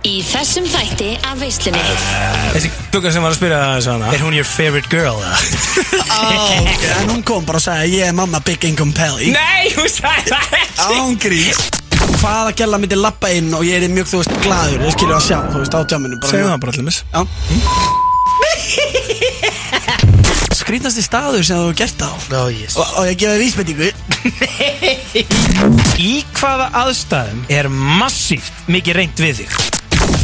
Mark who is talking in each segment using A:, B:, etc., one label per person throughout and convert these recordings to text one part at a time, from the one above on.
A: Í þessum þætti af veislunni
B: Þessi gugga sem var að spyrja það þessu hana
C: Er hún your favorite girl?
D: En hún kom bara að segja Ég er mamma Big Income Pally
B: Nei, hún sagði það ekki
D: Ángríns Hvaða gæla myndi lappa inn og ég er mjög, þú veist, glaður Ég skilur að sjá, þú veist, á tjáminu bara
C: Segðu það bara allir mis
D: Já Skrýtnasti staður sem þú hefur gert á
C: Ó, jés
D: Og, og ég gefa þér vísbendingu
B: Í hvaða aðstæðum er massíft mikið reynd við þig?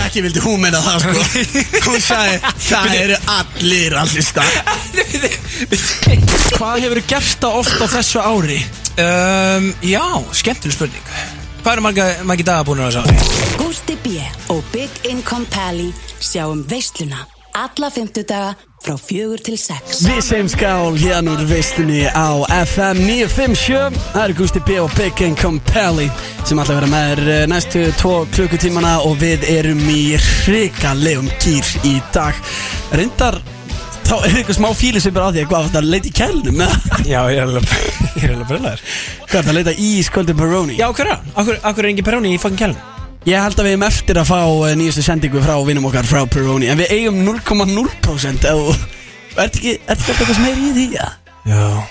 D: Ekki vildi hún meina það sko Hún sagði Það eru allir allir stað Hvað hefur gert það oft á þessu ári?
B: Um, já, skemmtileg spurning Hvað eru marga, margi dagar búin að þessu?
E: Gústi B. og Big Income Pally sjáum veisluna alla fimmtudaga frá fjögur til sex.
D: Við segjum skál hérna úr veistunni á FM 957 Það eru Gusti B og Big and Compelli sem ætla að vera með þér eh, næstu tvo klukkutímana og við erum í hrikalegum gýr í dag Reyndar, þá er eitthvað smá fíli sem bara á því að hvað var þetta að leita í kælnum eða?
B: Já, ég er alveg, ég er alveg bröðlegar
D: Hvað er þetta að leita í sköldi Baroni?
B: Já, hverja? Akkur, akkur er engin peróni í fangin kælum?
D: Ég held að við erum eftir að fá eh, nýjustu sendingu frá vinum okkar frá Peroni En við eigum 0,0% ef Er þetta ekki, ertu ekki eitthvað sem er í því? Ja?
B: Já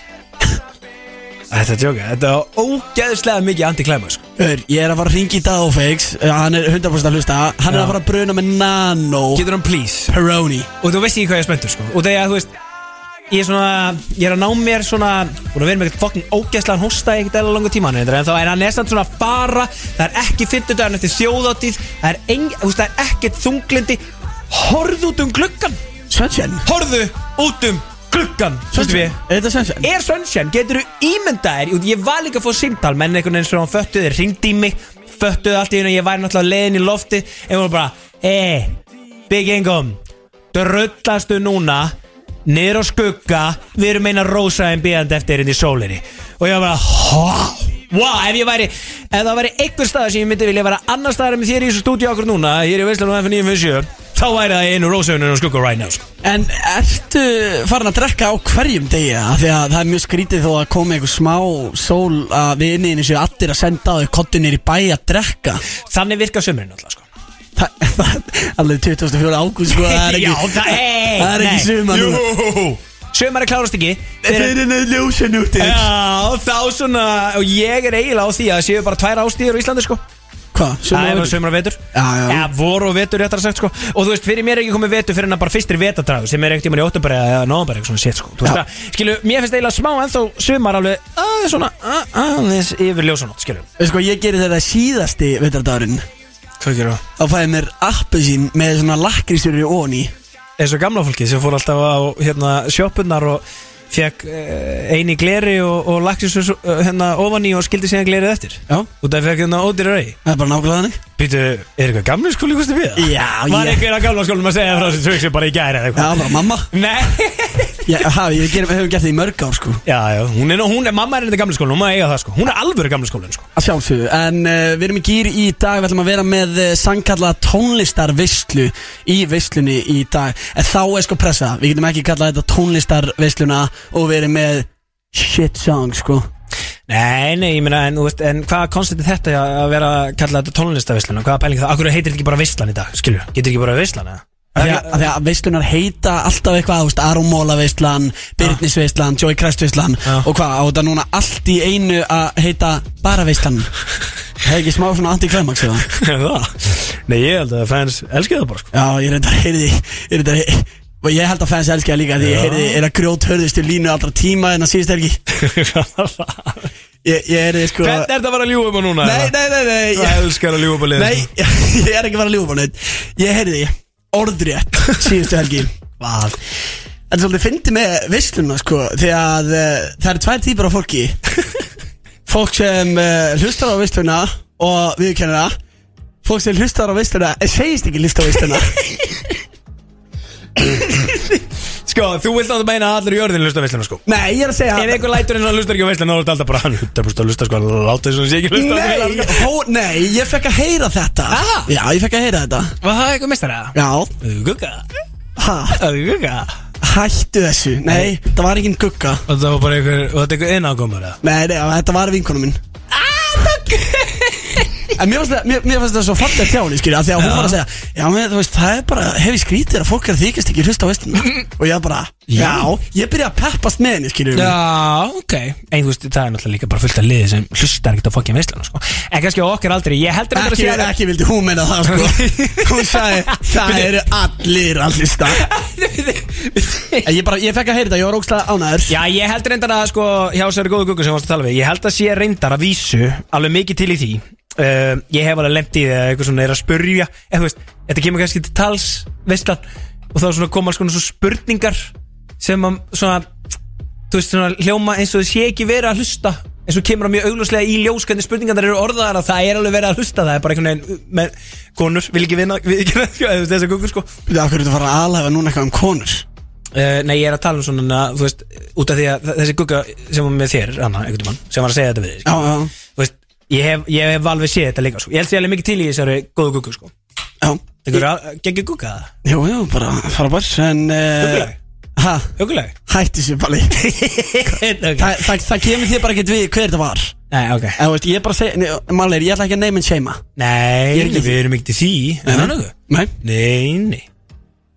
B: Þetta er djóka, þetta er ógeðslega mikið antiklæma sko.
D: Hör, ég er að fara að ringa í Dagofix Hann er 100% að hlusta Hann er
B: Já.
D: að fara að bruna með Nano
B: Getur hann please
D: Peroni
B: Og þú veist ekki hvað ég er spenntur sko Og þegar þú veist Ég er svona Ég er að ná mér svona Búin að vera með eitthvað fokkin ógeðslan hósta í Ekkert eða langa tíma hann En þá er hann nestand svona að fara Það er ekki 50 dagar eftir þjóðáttíð Það er, eng, þú veist, það er ekkert þunglindi Horðu út um gluggan
D: Sunshine
B: Horðu út um gluggan Sveistu
D: Sunshine
B: við
D: Er þetta Sunshine?
B: Er Sunshine, getur þú ímyndað þér Jú, Ég var líka að fá síntal, menn einhvern veginn sem hann föttuði Ringdi í mig, föttuði allt í hennu Ég væri náttúrulega leiðin í lofti En hún var bara, ei, Big Income Dröllastu núna Niður á skugga Við erum eina rósaðin bíðandi eftir inn í sólinni Og ég var bara, hó Wow, ef ég væri, ef það væri einhver staðar sem ég myndi vilja vera annar staðar með þér í þessu stúdíu okkur núna, hér í Veislanum F957 þá væri það í einu rósauninu og skugga right now sko.
D: En ertu farin að drekka á hverjum degi eða? Því að það er mjög skrítið þó að koma einhver smá sól að við inni eins og allir að senda á þau kottunir í bæ að drekka
B: Þannig virka sömurinn alltaf sko.
D: Þa, það, Allir 24. ágúst sko, það er ekki,
B: Já, það, hey,
D: það er ekki suma núna
B: Sumar er klárast ekki Þeir,
D: er nöðu ljósan út
B: Já, þá svona Og ég er eiginlega á því að það séu bara tvær ástíður á Íslandi sko
D: Hvað?
B: Það er
D: Sumar
B: bara sumar og vetur
D: Já, já.
B: Eða voru og vetur réttar sagt sko Og þú veist, fyrir mér er ekki komið vetur fyrir en að bara fyrstir vetardragur sem er ekkert tímann í óttubæri eða nóðbæri eitthvað svona sétt sko Þú veist
D: Já.
B: það, skilu, mér finnst eiginlega smá ennþá sumar alveg að svona að- aðeins yfir ljósanótt, skilu
D: Veist sko, ég gerir þetta síðasti veitardagurinn
B: Hvað gerur það?
D: þá fæði mér appelsín með svona lakrísur í óni
B: eins og gamla fólki sem fór alltaf á hérna, sjópunnar og fekk uh, eini gleri og, og laksins uh, hérna, ofan í og skildi síðan glerið eftir
D: Já.
B: og það fekk hérna ódýra rau
D: Það er bara nákvæmlega þannig
B: Býtu, er eitthvað gamla skóli kosti við það?
D: Já,
B: Var
D: ég-
B: einhver að gamla skólum að segja frá þessu tröksi bara í gæri eða
D: Já,
B: eitthvað?
D: bara mamma
B: Nei
D: Já, ha, ég ger, hefur gert það í mörg ár sko
B: Já, já, hún er, nú- hún er, mamma er þetta gamla skóla, hún má eiga það sko Hún er alvöru gamla skóla sko
D: Að sjálfsögðu, en uh, við erum í gýr í dag Við ætlum að vera með uh, sangkalla tónlistarvislu Í vislunni í dag En þá er sko pressa Við getum ekki kallað þetta tónlistarvisluna Og við erum með shit song sko
B: Nei, nei, ég meina, en, þú veist, en hvaða koncept er þetta að vera að kalla þetta tónlistavislun og hvaða pæling það, akkur heitir þetta ekki bara vislan í dag, skilju, getur ekki bara vislan eða?
D: Af því að- af því að veislunar heita alltaf eitthvað þú veist, Arómóla veislan, Byrnis veislan, Joy Crest veislan
B: Já.
D: Og hvað, á þetta núna allt í einu að heita bara veislan Það er ekki smá svona anti-climax eða?
B: Er það? Nei, ég held að fans elski það bara sko
D: Já, ég reyndar heyrði Ég reyndar heyrði Og ég held að fans elski það líka Því ég heyrði er að grjót hörðustu línu allra tíma En að síðust er ekki Ég, ég heyrði sko
B: Hvernig er það bara að ljúga um á núna?
D: Nei, nei, nei, nei
B: Ég
D: ég,
B: elskar að ljúga um á liðið
D: Nei, ég er ekki bara að ljúfa á neitt Ég heyrði orðrétt síðustu helgi
B: Hvað?
D: Þetta er svolítið fyndi með vissluna sko Því að uh, það eru tvær típar á fólki Fólk sem uh, hlustar á vissluna Og viðurkennir það Fólk sem hlustar á vissluna En segist ekki hlusta á vissluna
B: Sko, þú vilt að meina að allir í jörðin hlusta veisluna sko
D: Nei, ég er að segja
B: Ef einhver lætur eins og hann hlustar ekki á veisluna þá er þetta alltaf bara hann hlutar búst að hlusta sko hann láta þess að hann sé ekki hlusta á
D: Nei,
B: veisluna, sko.
D: hó, nei, ég fekk að heyra þetta
B: Aha.
D: Já, ég fekk að heyra þetta
B: Var það eitthvað mistara?
D: Já,
B: Gugga
D: ha,
B: Gugga
D: hættu þessu Nei, það var ekki gugga
B: Og það var bara einhver, og þetta er einhver innákomur eða?
D: Ah, Nei, nei, þetta var vinkonum minn En mér fannst það, mér, mér fannst það svo fallið tjá henni, skilja Þegar hún var að segja, já, men, þú veist, það er bara Hefði skrítið að fólk er að þykjast ekki hlusta á vestinu Og ég bara, já, ég byrja að peppast með henni, skilja
B: Já, ok En þú veist, það er náttúrulega líka bara fullt af liði sem hlustar ekkert á fokkin veislan sko. En kannski á okkar aldrei, ég heldur að
D: Ekki,
B: það
D: ekki vildi hún meina það, sko Hún sagði, það eru allir að hlusta En ég bara, ég fekk að heyra þetta, ég var ógstlega ánæður
B: Já, ég held reyndar að sko, hjá sér góðu guggu sem varst að tala við Ég held að sé reyndar að vísu alveg mikið til í því uh, Ég hef alveg lemt í því að eitthvað svona er að spurja En þú veist, þetta kemur kannski til tals veistlan Og þá svona koma svona svo spurningar sem að svona, þú veist, svona hljóma eins og þau sé ekki verið að hlusta eins og kemur á mjög augljóslega í ljós hvernig spurningarnar eru orðaðar að það er alveg verið að hlusta það er bara einhvern veginn, uh, með, konur, vil ekki vinna, vil ekki vinna þessar guggur sko
D: Þú af hverju ertu að fara að alhæfa núna eitthvað um konur
B: Uh, nei, ég er að tala um svona, þú veist, út af því að þessi gugga sem var með þér, Anna, einhvern tímann, sem var að segja þetta við þig,
D: Já,
B: sko.
D: já,
B: Þú veist, ég hef, ég hef alveg séð þetta líka, sko. Ég held því alveg mikið til í þessari góðu guggu, sko.
D: já
B: Það er að gegja gugga það,
D: Jú, jú, bara, fara bara En, eh,
B: Hugguleg.
D: ha,
B: huguleg.
D: hætti sér bara
B: okay.
D: Þa, það, það kemur þér bara ekkert við hver þetta var
B: Nei, ok.
D: En þú veist, ég er bara að segja, Málir, ég ætla ekki að neyma en seima
B: Nei,
D: Ég er ekki- Mhm.
B: við erum ekkert í því. Nei, nei, nei.
D: Nei,
B: Nei, nei.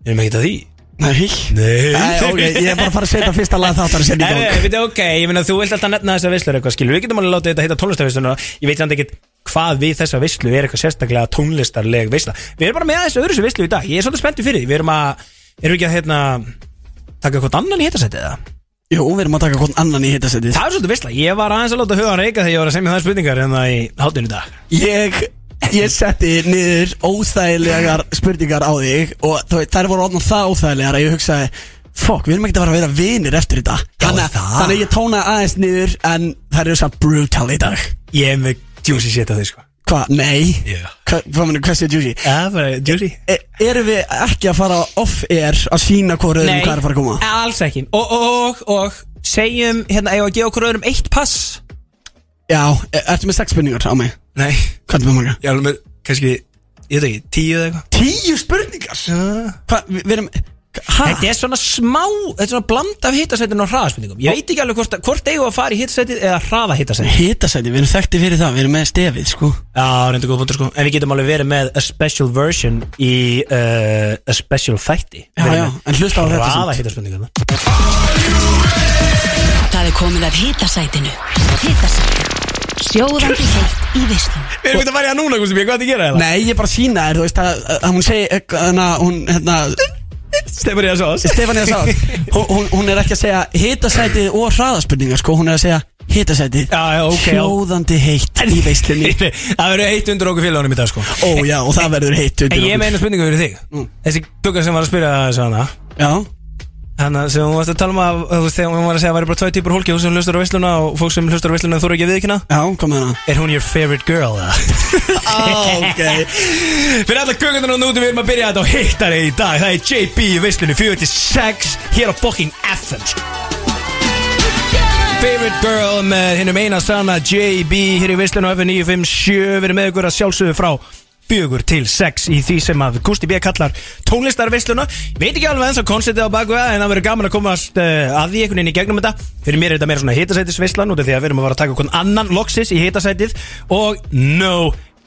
B: Við erum ekkert að því.
D: nei
B: Nei.
D: Nei, ok, ég er bara að fara að setja fyrsta lag þáttar að
B: Nei,
D: setja í
B: nei,
D: gang
B: við, ok, ég meina þú vilt alltaf nefna þessar veislur eitthvað skilur, við getum alveg látið þetta hitta tónlistarveisluna ég veit samt ekkert hvað við þessa veislu er eitthvað sérstaklega tónlistarleg veisla við erum bara með þessu öðru sem veislu í dag, ég er svolítið spenntið fyrir því við erum að, erum við ekki að hérna taka eitthvað annan í hittasætið það
D: Jú, við erum að taka hvort annan í hittasettið
B: það er svolítið veisla, ég var aðeins að láta hugan reyka þegar ég var að semja það spurningar en það í hátinu í dag
D: Ég, ég setti niður óþægilegar spurningar á þig Og þú veit, þær voru orðnum það óþægilegar að ég hugsaði Fokk, við erum ekkert að fara að vera vinir eftir þetta Þannig
B: það.
D: þannig að ég tóna aðeins niður En þær eru samt brutal í dag
B: ég er með juicy shit að því sko
D: Hvað, nei
B: Já.
D: Hva- Hvað meina, hversu er juicy?
B: Já, bara juicy
D: E- Erum við ekki að fara off-air að sína hvað rauðum um hvað er að fara að koma?
B: alls ekki og, og, og, og segjum, hérna, eigum við að gefa okkur öðrum eitt pass
D: Já, e- ertu með sex spurningar á mig?
B: Nei,
D: Hvað er með marga?
B: ég er alveg með, kannski, ég veit ekki, tíu eða eitthvað
D: Tíu spurningar? Hvað, við, við erum... Hæ?
B: Þetta er svona smá, þetta er svona bland af hittasætinu og hraðaspurningum Ég veit ekki alveg hvort, hvort eigum við að fara í hittasætið eða hraða hittasætið
D: Hitasæti, við erum þekkti fyrir það, við erum með stefið, sko
B: Já, reynda góð punktur sko En við getum alveg verið með a special version í uh, a special þætti
D: Já, já, en hlusta á þetta samt.
B: Hraða hittasætinu
E: Það er komið af hitasætinu Hitasætinu Sjóðandi heitt í veislunni
B: Við erum ekki að fara í það núna, Gusti, hvað er þetta að gera
D: Nei, ég er bara að sína þér, þú veist að, að hún segi, eh, hana, hún, hérna
B: Stefur ég að svo
D: Stefania sá, hún, hún- hún er ekki að segja hitasætið og hraðaspurningar, sko Hún er að segja hitasætið
B: Já, já, ok, já.
D: Hjóðandi heitt í veislunni
B: Það verður heitt undir okkur félagunum í dag sko
D: Ó, já, og það verður heitt undir
B: En ég
D: okkur.
B: meina spurningu fyrir þig Þessi gugga sem var að spyrja þessu hana
D: Já,
B: Þannig að sem hún varst að tala um að þú veist, þegar hún var að segja að það væri bara tvö típur hólki þú sem hlustar á veisluna og fólk sem hlustar á veisluna þú eru ekki að viðkynna
D: já, komið hana
B: Er hún your favorite girl eða?
D: ok.
B: Fyrir alla kökundan og núti við erum að byrja þetta á hittari í dag Það er JB í veislunni 46 Hér á fucking FM sko. Favorite girl með hinnum eina sanna JB hér í veislunni á FM 957 Við erum með ykkur að sjálfsögðu frá fjögur til sex í því sem að Gusti B. kallar tónlistarveisluna veit ekki alveg eins og konceptið á baku það en það verður gaman að komast uh, að því einhvern veginn í gegnum þetta fyrir mér er þetta meira svona hitasætisveislan út af því að við erum að fara að taka okkur annan loksis í hitasætið og no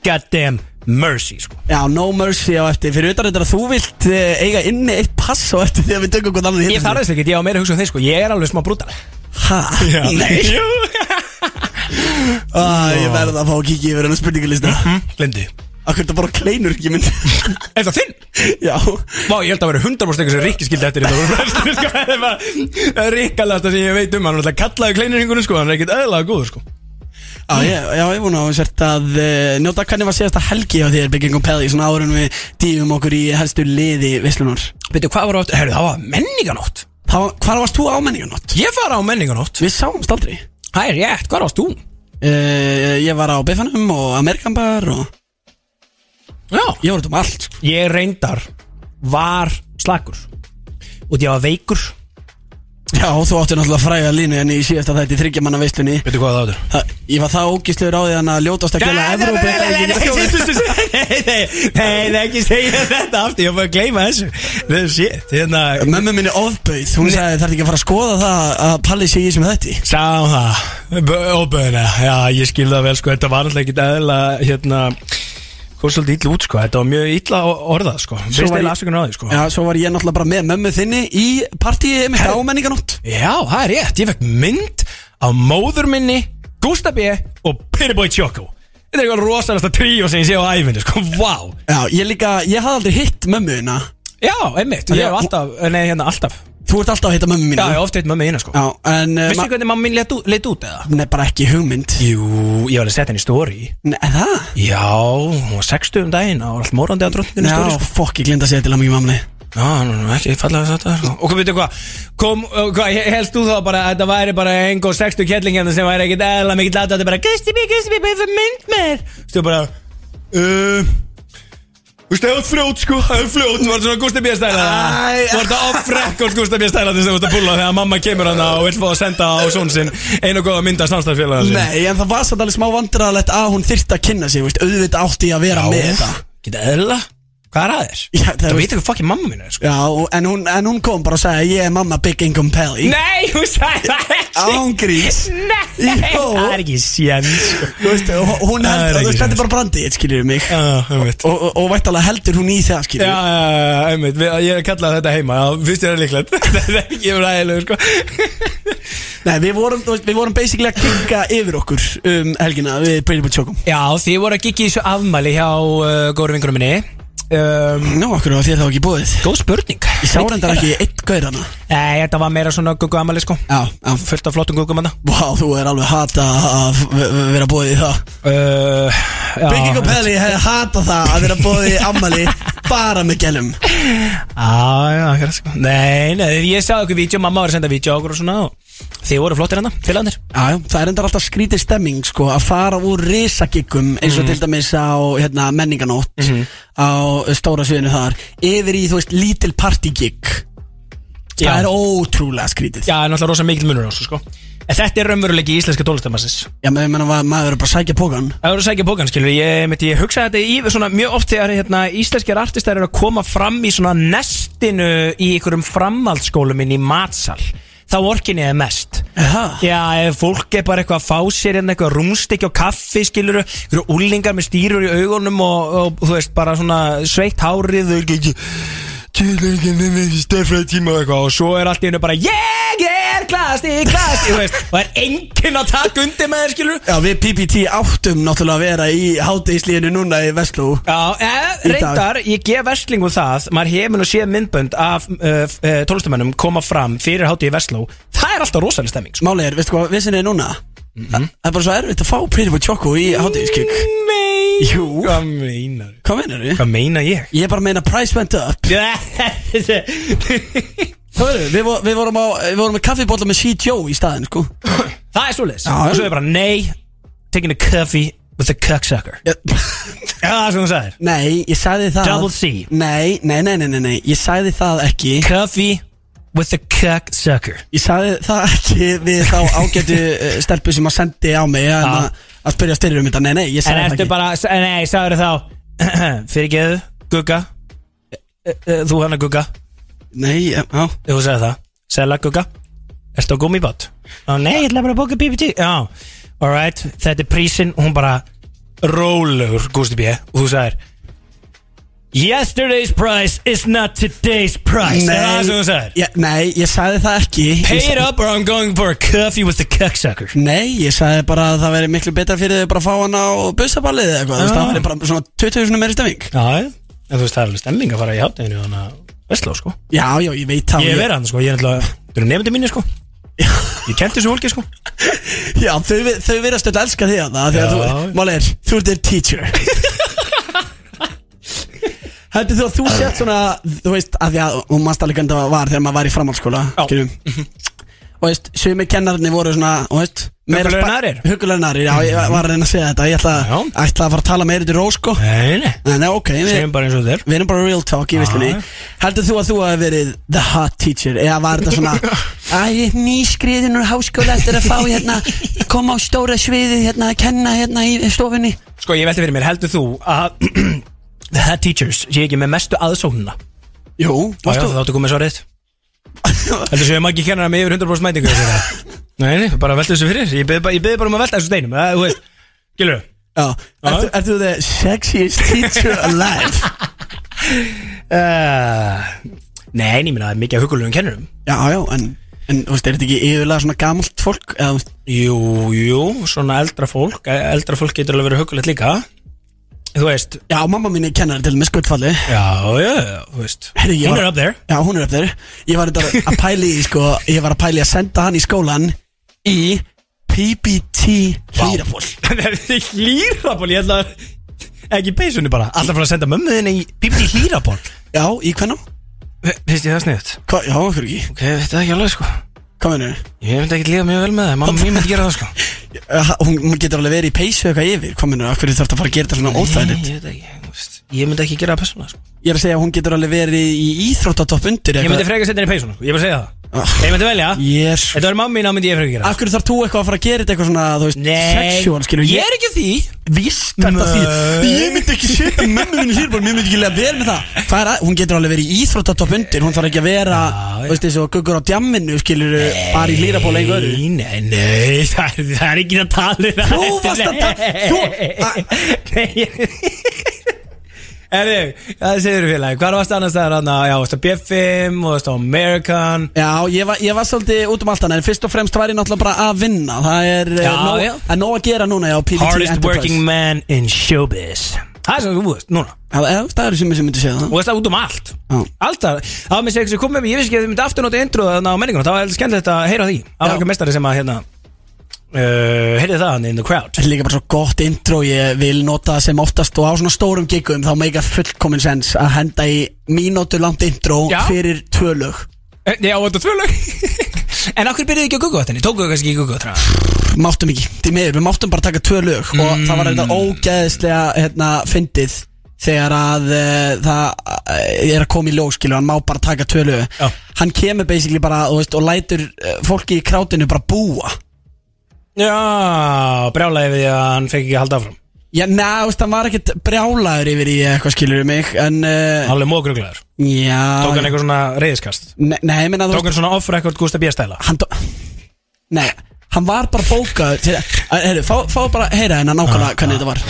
B: goddamn mercy sko.
D: Já, no mercy á eftir Fyrir utan þetta að þú vilt eh, eiga inni eitt pass á eftir Þegar við tökum hvort annað
B: ég þarf þess ekki, ég á meira að hugsa um þeir sko. ég er alveg smá brútal
D: Hæ? Nei
B: Jú.
D: Æ, Ég verð að fá að kíkja yfir hennar spurningalista
B: Mhm. glemdi
D: Akkur þetta bara kleinur ekki mynd
B: Er það þinn?
D: Já
B: Vá, ég held að vera 100% eitthvað sem Rikki skildi eftir þetta voru flestir, sko. Það er bara Rikkalasta sem ég veit um Hann er alltaf kallaði kleinurhingunum sko, hann er ekkert öðlega góður sko
D: Já, ég, já, ég vona á sért að uh, njóta hvernig var síðasta helgi á þér bygging og peði Svona árun við dýfum okkur í helstu liði Vislunar
B: Veitu, hvað var átt? Herru, það var menninganótt
D: Hvar varst þú á menningarnótt?
B: Ég fara á menninganótt
D: Við sáumst aldrei
B: Það er rétt, hvað varst þú?
D: uh, Ég var á Bifanum og Amerikan Bar og
B: Já
D: Ég var út um allt sko.
B: Ég reyndar var slakur Og ég var veikur
D: Já, þú áttu náttúrulega fræga línu en í síðasta þætti þryggja manna veislunni
F: Veitu hvað það áttur?
D: Það- Ég var það ógistlegur á því hann að ljótast að gjöla Evrópu
B: Nei, nei, nei, nei, nei, ekki segja þetta aftur, ég var bara að gleyma þessu Þetta er shit, hérna
D: Mömmu minni ofbauð, hún sagði þarf ekki að fara að skoða það að Palli sé í sem þetta
F: Sáum það, óböðina Já, ég skil það vel, sko, þetta var alltaf ekki eðla Hérna, hvað svolítið illa út, sko Þetta var mjög illa orðað, sko Vist
D: var ég-
F: eða afsökun á því, sko
D: Já, svo var ég náttúrulega bara með mömmu þinni í partíi mitt á menninganótt
F: Já, það er rétt, ég fekk mynd af móður minni, Gustaf B og Piriboy Choco Þetta er eitthvað rosalasta tríó sem ég sé á æfinni, sko, vá
D: Já, ég líka, ég hafði aldrei hitt mömmu þina
B: Já, einmitt, ég er alltaf, nei, hérna, alltaf
D: Þú ert alltaf að hitta mömmu mínu
B: Já, ég oft veit mamma þína, sko
D: Já, en uh,
B: Vissu hvernig mamma mín leit út- leit út, eða?
D: Nei, bara ekki hugmynd
B: Jú, ég var alveg sett henni í stóri
D: Nei, er það?
B: Já, hún var 60 um daginn, það var allt morandi á drottningunni
D: Já,
B: stóri, sko
D: fokk, ég glinda að segja til að mjög mamli
B: Já, nú, nú, ekki fallega þetta sko. Og hvað, veitu hvað, kom, uh, hvað, he- helst þú þá bara að þetta væri bara einhver 60 kettlingjarnir hérna sem væri ekkit eðla mikið láta Þetta er bara, Gusti B, Gusti B, bara fyrir mynd mér Stu bara, uh, Þú veist, það var fljót sko, það var fljót, var svona Gusti B stæla
D: Æ,
B: Var þetta off-record Gusti B stæla þess að þú veist að pulla þegar mamma kemur hana og vill fá að senda á són sinn einu góða mynda samstæðsfélaga sinn
D: Nei, en það var samt alveg smá vandræðalegt að hún þyrfti að kynna sig, veist, auðvitað átti ég að vera með þetta
B: Geta eðla, hvað er aðeins?
D: Já, það
B: Það
D: veist-
B: veitir hvað fokkin mamma mín er sko
D: Já, og- en hún, en hún kom bara og sagði Ég er mamma Big Income Pelly
B: Nei, hún sagði það ekki
D: Ángrís
B: Nei,
D: Jó.
B: það er ekki séns sko.
D: Þú veist, og Hún
B: Það er
D: heldur,
B: ekki
D: þú veist, þetta
B: séns.
D: er bara brandið, skiljur mig
B: Já, einmitt
D: Og, og, og vættalega heldur hún í það,
B: Já,
D: skiljur
B: já, já, einmitt, Við- ég er kallað þetta heima Já, finnst þér það líklegt Þetta er ekki um ræðilegur, sko
D: Nei, við vorum, þú veist, við vorum basically að kynka yfir okkur um helgina Við Brady Butch Chokum
B: Já, þið voru að gikki í þessu afmæli hjá uh, góru vingurum minni um,
D: Nú, okkur var þér þá ekki búið
B: Góð spurning
D: Ég sá reyndar ekki eitt gaur hana
B: Nei, þetta var meira svona guggu afmæli, sko
D: Já, já
B: Fullt af flottum guggum hana
D: Vá, þú er alveg hata að v- v- vera búið í það
B: uh, já.
D: Big Income Pelly hefði hata það að vera búið í ammali bara með gælum
B: Já, já, hérna, sko Nei, nei, ég sá ykkur vídeo, mamma var að senda vídeo á okkur og svona og Þið voru flottir hana, félagarnir
D: Já, já, það er endar alltaf skrítið stemming sko, að fara úr risagiggum eins og til dæmis á hérna, menninganótt á stóra sviðinu þar yfir í, þú veist, lítil partygigg
B: Já.
D: Það er ótrúlega skrítið Já,
B: Já, það er náttúrulega rosa mikil munur á þessu, sko En þetta er raunveruleiki íslenska tónlistamassins
D: menn, menn, maður maður er bara að sækja pókan
B: Það voru að sækja bókan, skilur, ég, myndi, ég hugsa þetta í svona mjög oft þegar hérna, íslenskir artistar eru að koma fram í svona nestinu í einhverjum framhaldsskólum inn í matsal þá orkinni er mest
D: Aha.
B: Já, ef fólk er bara eitthvað að fá sér hérna eitthvað rúmstekki og kaffi, skilur einhverju úlingar með stýrur í augunum og, og þú veist, bara svona sveitt hárið og ekki stærfræði tíma og eitthvað og svo er allt í hennu bara ég er glasti, glasti, þú veist og er enginn að taka undir með þér, skilur
D: Já, við PPT áttum náttúrulega að vera í hátegislíðinu núna í Vestló
B: Já, eh,
D: Í dag.
B: reyndar, ég gef verslingu það maður hefur nú séð myndbönd af uh, uh, tólustamönnum koma fram fyrir hátíði Vestló það er alltaf rosalega stemming sko.
D: Máli er, veistu hvað, vissin er núna Það það er bara svo erfitt að fá Pretty Boy Choco í hátegiskikk
B: Nei,
D: Jú.
B: hvað meinar
D: Hvað meinar við?
B: Hvað meina ég?
D: Ég er bara að meina price went up
B: það
D: Það verður, við, vo- við vorum á, við vorum með kaffibólla með C. Joe í staðin, sko
B: er svoleiðis
D: Já.
B: og svo er bara nei taking a coffee with a cocksucker
D: Já.
B: Já, það er sem hún sagðir
D: Nei, ég sagði það
B: Double C.
D: Nei, nei, nei, nei, nei, nei, ég sagði það ekki
B: Coffee with a cocksucker
D: Ég sagði það ekki við þá ágætu eh, stelpu sem að sendi á mig en
B: Já.
D: að, að spyrja styrir um þetta Nei, nei, ég
B: En
D: sagði það
B: ertu
D: ekki
B: bara, s- nei, sagður þá Fyrir geðu, gugga Eh, eh, Þú hann að gugga
D: Nei, já, já,
B: Þú sagði það Sella gugga Ertu á gummibát? Ó nei, ég ætla bara að bóka BBT Já, alright Þetta er prísin Hún bara Rólegur, Gústi B Og þú sagðir Yesterday's price is not today's price Er Það er sem þú sagðir
D: ég, nei, ég sagði það ekki Ég
B: Pay it
D: sa-
B: up or I'm going for a coffee with the cocksucker
D: Nei, ég sagði bara að það veri miklu betra fyrir þau bara að fá hann á busaballið eða eitthvað, þú veist,
B: Já.
D: það veri bara svona 20 sinni meiri stemming
B: Já, en þú veist það er alveg stemning að fara í hátteginu Þannig að Vestló sko
D: Já, já, ég veit það
B: Ég hef verið hann sko, ég er náttúrulega Þú eru nefndi mínir sko Ég kenti þessu fólki sko
D: Já, þau, vi- þau verðast öll elska þig að það
B: Já.
D: Þegar þú, málir, þú ert þeir teacher Heldur þú að þú sett svona Þú veist, að því að Hún mannst alveg hvernig það var þegar maður var í framhaldsskóla
B: Já.
D: skiljum. og veist, sumi kennararnir voru svona og veist,
G: Huggulegri en aðrir?
D: Huggulegri en aðrir, já, ég var að reyna að segja þetta Ég ætla,
B: Já.
D: ætla að fara að tala meira til rós, sko
B: Nei, nei,
D: En það er ok, við,
B: segjum bara eins og þetta er
D: við erum bara real talk í visslunni
B: Já.
D: Heldur þú að þú hafi verið the hot teacher Eða var þetta svona Æ, ég er nýskriðin úr háskóla eftir að fá hérna Koma á stóra sviðið hérna að kenna hérna í stofunni
B: Sko, ég velti fyrir mér, heldur þú að The head teachers sé ekki með mestu aðsóknuna
D: Jú,
B: Já, já,
D: varstu
B: þá áttu komið svarið Heldur séu maður ekki kennar með yfir 100% mætingu þessi það? Nei, nei, bara velta þessu fyrir Ég beði bara, ég beið bara um að velta þessu steinum Það, þú veist, gilur
D: Já, ertu, ertu the sexiest teacher alive
B: uh, Nei, en ég minna, það er mikið af hugulegum kennurum
D: Já, já, en, en þú veist, er þetta ekki yfirlega svona gamalt fólk eða, þú veist,
B: Jú, jú, svona eldra fólk e- Eldra fólk getur alveg verið hugulegt líka Þú veist,
D: Já, mamma mín er kennari til með skuttfalli
B: já, já, já, þú veist
D: Herri, ég
B: Hún
D: var-
B: er up there
D: Já, hún er upp þeir Ég var þetta að pæli í, sko Ég var að pæli að senda hann í skólan Í PBT hlýraból
B: Það er hlýraból, ég ætla að Ekki í peysunni bara, alltaf frá að senda mömmuðinni í Bíbli hlýraból
D: Já, í hvernig?
B: Veist ég það sniðut?
D: Hva, já, okkur ekki
B: Ok, þetta er ekki alveg sko
D: Hvað mennur?
B: Ég myndi ekki líða mjög vel með það, mamma mín myndi gera það sko
D: Eh, Hún, hún getur alveg verið í peysu eitthvað yfir Hvað mennur? Akkur þarf þetta að fara að gera þetta svona óþægilegt
B: Ég veit ekki, þú veist, ég myndi ekki gera það persónulega sko.
D: Ég er að segja að hún getur alveg verið í íþróttatopp undir
B: Ég myndi
D: eitthvað
B: freka setja henni í peysuna, sko, ég bara segja það
D: Ah.
B: Ef Ég myndi velja,
D: Jésu
B: þetta er mamma mín, þá myndi ég freka gera það
D: Akkur þarf þú eitthvað að fara að gera þetta eitthvað svona, þú veist, sexual, skilur
B: ég er ekki að því
D: Vist þetta
B: Nei.
D: því Ég myndi ekki setja mömmu minni hér Mér myndi ekki lega vera með það, það er að, Hún getur alveg verið í íþróttatopp undir Hún þarf ekki að vera
B: Já, já.
D: Þú veist þessu guggur á djamminu Skilur bara í hlýraból einhver öðru
B: Nei, nei, nei, það er, það er ekki að tala um það.
D: Þú varst að ta-
B: Þú Nei, ég Erðu, það segir félagi, hvað varst annars það er hann að, já, varst að B5 og varst á American
D: Já, ég var, ég var svolítið út um allt annað En fyrst og fremst var ég náttúrulega bara að vinna Það er eh,
B: Já,
D: nóg,
B: já.
D: það er nóg að gera núna já, á PVT
B: Hardest
D: Enterprise.
B: working man in showbiz Það er sem þú veist, núna
D: Já, eða, Það eru sem ég myndi segja það
B: Og veist það út um allt
D: Já.
B: Alltaf, það var mér segið sem kom með mér Ég veist ekki að þið myndi aftur nota intro þannig á menningunum Það var heldur skemmtilegt að heyra því Það var
D: Já.
B: ekki mestari sem að hérna uh, Heyrði það hann in the crowd
D: Þetta er líka bara svo gott intro Ég vil nota það sem oftast og á svona stórum gigum Þá meika fullkomin sens að henda í mínútu langt intro
B: Já.
D: fyrir tvö lög
B: Eh, Já, þetta er tvö lög En okkur byrjuðu ekki á Google-vatninni? Tókuðu kannski ekki Google-vatnina?
D: máttum ekki, því miður, við máttum bara taka tvö lög
B: Mm.
D: og það var þetta ógeðslega hérna, fyndið þegar að uh, það uh, er að koma í ljós, skilur, hann má bara taka tvö lög
B: Já.
D: hann kemur basically bara þú veist, og lætur uh, fólki í krátinu bara búa
B: Já, brjálaði við því að hann fekk ekki að halda áfram
D: Já, neða, veist, hann var ekkert brjálaður yfir í eitthvað skilur mig, en uh,
B: Alveg mógruglegar
D: já,
B: Tók hann eitthvað svona reyðiskast
D: ne nei, ég meina, þú
B: Tók hann svona off-record Gústa B-stæla
D: hann tó... Nei, hann var bara bókaður til... Heyru, fá, fá bara að heyra hennar
B: Ah,
D: nákvæmlega hvernig þetta var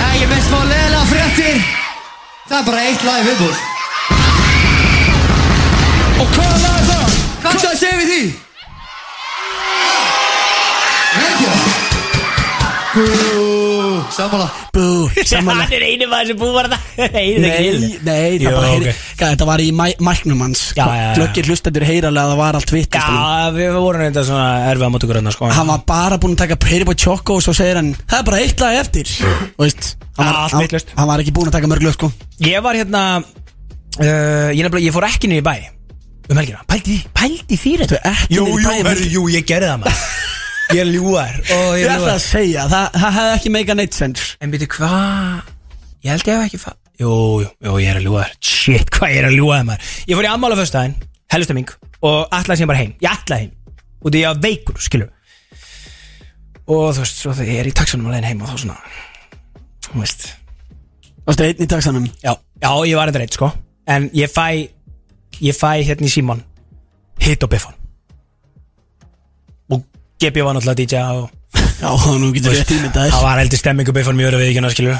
H: Nei, ég veist fá leðilega fréttir Það er bara eitt lag viðbúr Og hvað lag er það? Hvað ætlaðu að segja við því? Reykja Bú, sammála
D: Bú, samanlega
B: Hann er einu maður sem búið var það Einu
D: Nei, nei, það
B: Jú,
D: bara heyri
B: ok.
D: okay. Þetta var í mæ- mæknum hans
B: Já, já, já.
D: Glöggir hlustendur heyralega að það var allt vitt
B: Já, við vorum reynda svona erfið á móti grönna sko
D: Hann var bara búinn að taka heyri búið tjokko Og svo segir hann, það er bara eitt lag eftir Og veist, hann
B: Allt
D: var, hann,
B: vitlaust.
D: hann var ekki búinn að taka mörg lög sko
B: Ég var hérna uh, ég, nefnilega, ég fór ekki niður í bæ Um helgina Pældi, því- pældi því
D: Þú
B: þetta
D: er ekki niður í bæ,
B: herru,
D: Helgi.
B: jú, ég gerði það maður Ég er ljúar og
D: Ég ætla
B: ljúgar.
D: að segja, það, það hefði ekki meika neitt sens
B: En byrju, hvað? Ég held ég hef ekki fa... Jú, jú, jú, ég er að ljúa þér Shit, hvað ég er að ljúa þér maður Ég fór í ammála föstudaginn, hellustemming Og ætlaði sem bara heim, ég ætlaði heim Og því ég var veikur, skilur Og þú veist, svo þegar ég er í taxanum að leiðin heim Og þá svona, þú veist
D: Þú veist, einn í dagsanum
B: Já, já, ég var eitthvað reitt, sko En ég fæ, ég fæ hérna í síman Hitt og biffan Og Gepi var náttúrulega DJ og
D: Já, nú getur við tímið
B: Það
D: þess
B: var heldur stemmingu beifan mjög öru við ekki skilur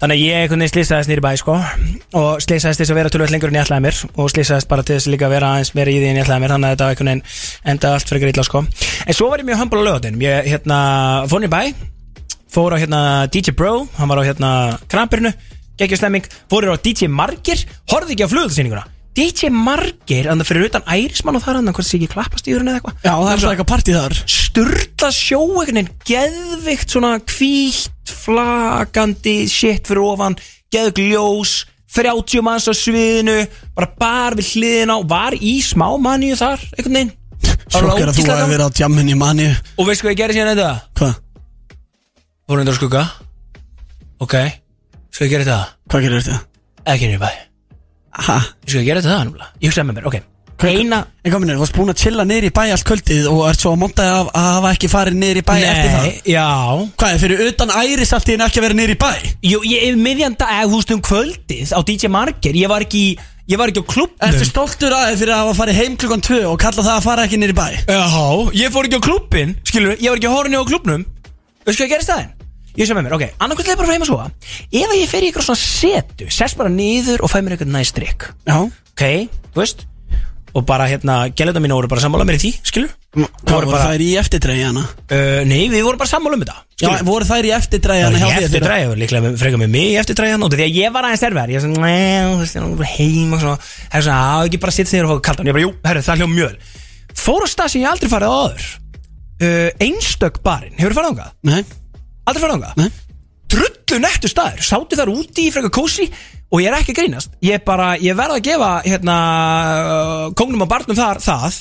B: Þannig að ég einhvern veginn slýsaðist nýri bæ sko og slýsaðist þess að vera tölvöld lengur en ég ætlaði mér og slýsaðist bara til þess líka að vera aðeins meira í því en ég ætlaði mér þannig að þetta var einhvern veginn enda allt fyrir illa sko En svo var ég mjög humble á lögadinum Ég hérna fór nýri bæ fór á hérna DJ Bro hann var á hérna krampirinu geggjur stemming fór á DJ Margir horfði ekki á flugöldasýninguna DJ Margir andan fyrir utan ærismann og þar andan hvort sé ekki klappastýrun eða eitthvað
D: Já, það er alltaf eitthvað partí þar
B: sturla sjóegnin geðvikt svona hvítt flagandi shit fyrir ofan geðgljós 30 manns á sviðinu bara bar við hliðina og var í smá manju þar einhvern veginn
D: Sjokkar að þú
B: Ísland-
D: hefði verið á djamminni manni
B: Og veistu hvað ég gerði síðan þetta?
D: Hvað?
B: Fór undir að skugga Ok Skal ég gera þetta?
D: Hvað gerir þetta?
B: Ekki nýr bæ Ég
D: Ha?
B: skal gera þetta það núna Ég hugsaði með mér, ok Eina
D: En komin er, þú varst búin að chilla niður í bæ allt kvöldið og ert svo að montaði af að hafa ekki farið niður í bæ eftir það
B: já
D: Hvað er fyrir utan æris allt í henni ekki að vera niður í bæ?
B: Jú, ég er miðjan dag, eða hústum kvöldið á DJ Marger, ég var ekki í- ég var ekki á klubnum
D: Ertu stoltur að þér fyrir að hafa farið heim klukkan 2 og kalla það að fara ekki niður í bæ?
B: Já, ég fór ekki á klubbin, skilur ég var ekki á horinu á klubnum Veistu hvað ég gerði staðinn? Ég sem með mér, ok, annarkvæmt leið bara frá heima svo Ef að ég fer í eitthvað svona setu, sess bara niður og fæ mér eitthvað næst drikk
D: Já
B: Ok, þú veist Og bara hérna, gælenda mínu voru bara sammála mér í því, skilur
D: Hvað voru
B: bara-
D: þær í eftirdræði hana?
B: uh, Nei, við vorum bara sammála um þetta
D: Já,
B: skilurðu.
D: voru þær í eftirdræði hana hjá
B: Ég
D: þér?
B: eftir dræði, ég var líklega með, frekar með mig eftir dræði hann út Því að ég var aðeins erfæðar, ég var svona "Nei, þú veist, ég er bara heima og svona Það er svona, að ekki bara sitt þegar og fá kaldan Ég bara, jú, herru, það hljóðum mjög vel." Fór á stað sem ég aldrei farið á áður uh, Einstök barinn, hefur farið þangað?
D: Nei,
B: Aldrei farið þangað?
D: nei
B: Drullu nettu staður, sátu þar úti í frekar kósi Og ég er ekki að grínast Ég bara, ég verð að gefa, hérna uh, Kongnum og barnum þar, það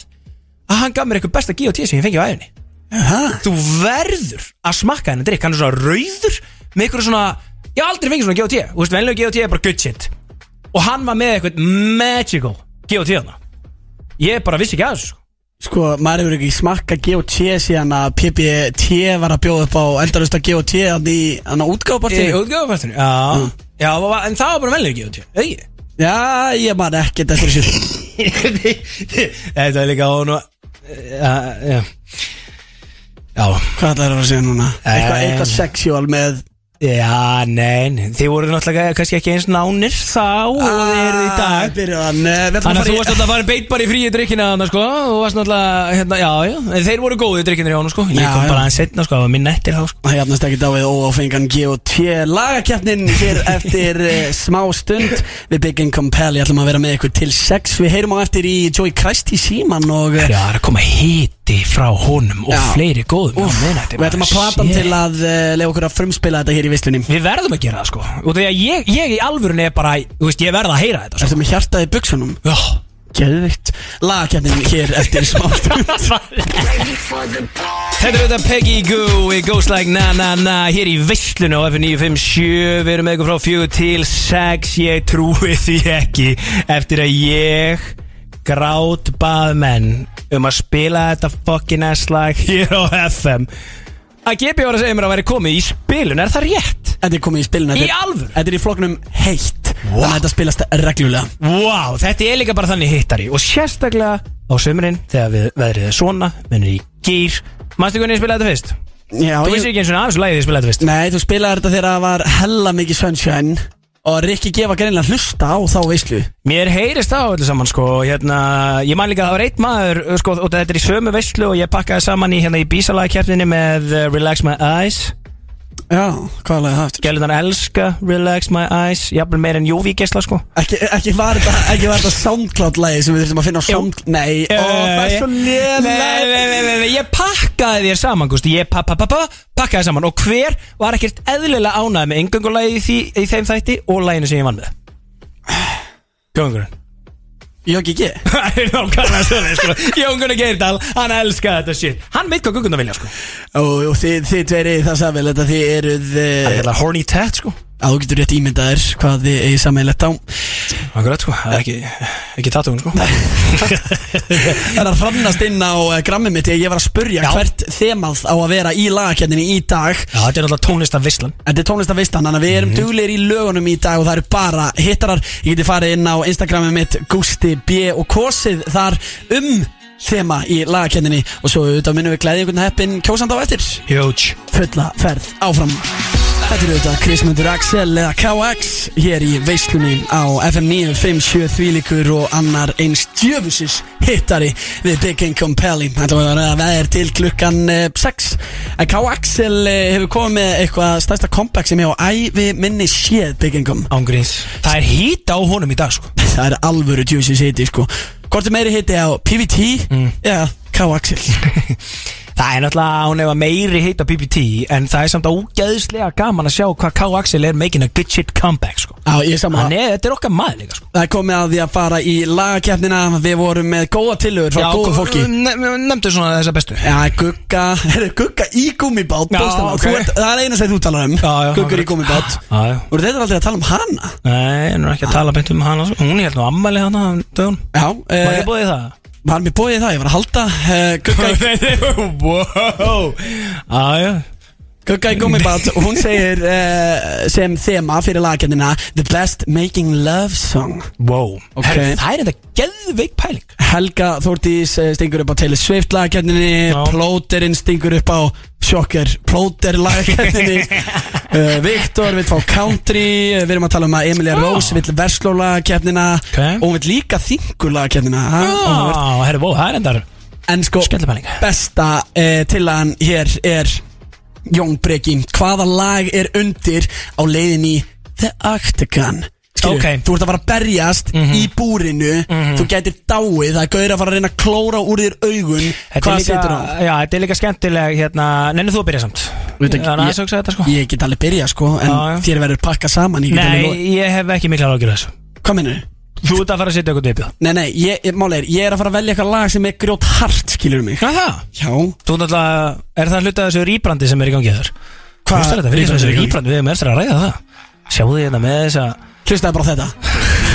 B: Að hann gaf mér eitthvað besta G.O.T. sem ég fengi á æfinni
D: Aha.
B: þú verður að smakka henni drikk hann er svona rauður með eitthvað svona ég hef aldrei fengið svona G.O.T. þú veist, venlega G.O.T. er bara good shit og hann var með eitthvað magical G.O.T. hana ég bara vissi ekki að þessu sko.
D: Sko, maður hefur ekki smakka G.O.T. síðan að PBT var að bjóða upp á eldarusta G.O.T. hann í hann á
B: í
D: útgáfapartíu
B: útgjöfapartinu já, já, það var- en það var bara venlega G.O.T. Eigi.
D: Já, ég man ekkert eftir þessu
B: þetta er líka hún og já, já já,
D: Hvað ætlaði að vera að segja núna?
B: Eh.
D: Eitthvað, eitthvað sexual með
B: já, nein þið voru náttúrulega kannski ekki eins nánir þá og þið eru í dag
D: Byrjaðan, við
B: Ah.
D: ætlum
B: Þannig
D: að
B: að þú varst
D: fara í
B: alltaf að fara beitt bara í fríi drikkina þannig sko Þú varst náttúrulega, hérna, já, já En þeir voru góðið drikkinir í honum sko Ég
D: Já,
B: kom
D: já.
B: bara aðeins setna sko, það var minn nettir þá sko
D: Það jafnast ekki dáið óáfengan G.O.T. lagakeppnin hér eftir uh, smá stund Við Big Income Pally ætlum að vera með ykkur til sex Við heyrum á eftir í Joey Christ í síman og
B: Já,
D: uh,
B: það er að koma hiti frá honum og
D: Já.
B: fleiri góðum
D: úff,
B: á miðnætti,
D: Við ætlum að
B: maður.
D: plata hann
B: Shit.
D: til að uh, lefa okkur að frumspila þetta hér í vislunni
B: Við verðum að gera það sko Og því að ég, ég í alvörunni er bara, þú veist, ég verð að heyra þetta sko
D: Ertu með hjartað í buksunum?
B: Já
D: Geðvikt Lagakeppnin hér eftir smá stund
B: Þetta er auðvitað Peggy Goo It goes like na na na Hér í veislunni á F957 Við erum með ykkur frá fjögur til sex Ég trúi því ekki Eftir að ég grátt bað menn Um að spila þetta fucking S-lag Hér á FM Að gepi var að segja mér að væri komið í spilun Er það rétt?
D: Þetta er komið í spilin
B: Í alvöru?
D: Þetta er í flokknum heitt Þannig að þetta spilast reglulega
B: Vá, wow, þetta er líka bara þannig hittari Og sérstaklega á sömurinn Þegar við veðrið er svona Mennir í gýr Manstu hvernig ég spilaði þetta fyrst?
D: Já,
B: Þú
D: ég-
B: vissi ekki eins og aðeins lagið ég spilaði þetta fyrst
D: Nei, þú spilaði þetta þegar það var hella mikið sunshine Og Rikki gefa greinlega hlusta á þá veislu
B: Mér heyrist það á öllu saman sko hérna, Ég man líka að það var eitt maður uh, sko, og þetta er í sömu veislu og ég pakkaði saman í, hérna, í bísalagakjarninni með uh, Relax My Eyes
D: Já, hvað lagði það eftir?
B: Gælunar elska Relax My Eyes Jafnvel meir en Jóvi gesla sko
D: Ekki, ekki var þetta, ekki var þetta SoundCloud-lagi sem við þurfum að finna á SoundCloud Nei, ó, það er svo
B: Nei, nei,
D: lélega
B: nei, nei, nei, Ég pakkaði þér saman gústi, Ég pa, pa, pa, pa, pakkaði saman Og hver var ekkert eðlilega ánægð með engöngulagi í, því- í þeim þætti og laginu sem ég vann með Gjöngurinn
D: Jóki G
B: Það er nákvæmlega svolítið sko Jón Gunnar Geirdal, hann elskar þetta shit Hann veit hvað gungundar vilja sko
D: Og og þið, þið tveiri það samvel þetta þið eruð
B: Það er
D: eh,
B: eitthvað horny tat sko
D: Að þú getur rétt ímyndaðir hvað þið eigi samveilegt á
B: Akkurat sko, það er ekki, ekki tatúin sko
D: Það er að hrannast inn á eh, grammið mitt Ég ég var að spurja
B: Já.
D: hvert þemað á að vera í lagakjarninni í dag
B: Já, þetta er náttúrulega tónlistavislan
D: Eh, Þetta er tónlistavistan, þannig að við erum duglegir í lögunum í dag og það eru bara hittarar Ég geti farið inn á Instagramið mitt, Gusti B og kosið þar um þema í lagakenninni og svo auðvitað minnum við glæði einhvern heppin kjósand á eftir
B: Huge
D: fulla ferð áfram Þetta er auðvitað Krismundur Axel eða KX hér í veislunni á FM 957 þvílíkur og annar eins djöfusis hittari við Big Income Pally Þetta var að ræða veðir til klukkan 6 en KX hefur komið með eitthvað stærsta comeback sem ég á ævi minni séð Big Income
B: Ángríns Það er hýta á honum í dag sko
D: Það er alvöru
B: Mm.
D: djöfusis hitti sko Hvort er meiri hitti á PVT eða KX
B: Það Það er náttúrulega, hún hefa meiri heita PPT En það er samt ógeðslega gaman að sjá hvað K. Axel er making a good shit comeback sko.
D: Já, ég er saman
B: Hann er, þetta er okkar maður líka sko.
D: Það er komið að því að fara í lagakefnina Við vorum með góða tillögur frá góða fólki
B: ne Nefndu svona þessa bestu
D: Já, gugga Er það gugga í gummibát?
B: Já,
D: bókstaflega.
B: ok.
D: Þú ert- Það er eina sem þú talar um
B: Já, já,
D: Guggur
B: akkurat.
D: í gummibát
B: Já, já.
D: Þú þetta aldrei að tala um hana
B: Nei, hún er ekki að tala beint um hana sko. Hún er hérna á ammæli hana um dögun
D: Já,
B: Var
D: eh,
B: ég búið í það?
D: var mér bóðið það Ég var að halda eh, Gugga í-
B: wow Jájá
D: Gugga í gummibát Hún segir eh, sem þema fyrir lagakefnina The best making love song
B: Wow
D: Ok.
B: Herru, Það er þetta geðveik pæling
D: Helga Þórdís eh, stingur upp á Taylor Swift lagakefninni
B: Já.
D: Plóterinn stingur upp á Sjokker Plóter lagakefninni uh, Viktor vill fá country eh, Við erum að tala um að Emilia
B: Já.
D: Rose vill Versló lagakefnina
B: Ah. Ok.
D: Og hún vill líka þingur lagakefnina ha? Áhugavert.
B: Já, herru, Ah. wow, það er endar
D: En sko
B: Skemmtileg pæling.
D: besta uh, tillagan hér er Jón Breki Hvaða lag er undir á leiðin í The Octagon Skilju,
B: Ok. Mhm.
D: þú ert að fara að berjast í búrinu Þú gætir dáið, það er gauður að fara að reyna að klóra úr þér augun
B: Þetta
D: Hvað
B: er
D: setur
B: líka,
D: á?
B: já, þetta er líka skemmtileg hérna, Nenni þú að byrja samt
D: Veit ekki,
B: Það er aðeins
D: ég-
B: að hugsa þetta sko
D: Ég get alveg byrja sko, en
B: Já, já.
D: þér verður pakka saman ég get alveg
B: Nei,
D: lofað.
B: ég hef ekki mikla ágjur þessu
D: Hvað mennur?
B: Þú ert að fara að setja eitthvað viðbjöð
D: Nei, nei, ég, ég- máli er, ég er að fara að velja eitthvað lag sem er grjót hart, skilur mig
B: Já, það
D: Já,
B: Þú náttúrulega, er það hluta af þessu rýbrandi sem er í gangi þar?
D: Hvað
B: Hvað er þetta? Við erum
D: rýbrandi er í
B: þessu
D: gangi?
B: rýbrandi, við erum eftir að ræða það Sjáðu þið hérna með þessa
D: hlustaði bara á þetta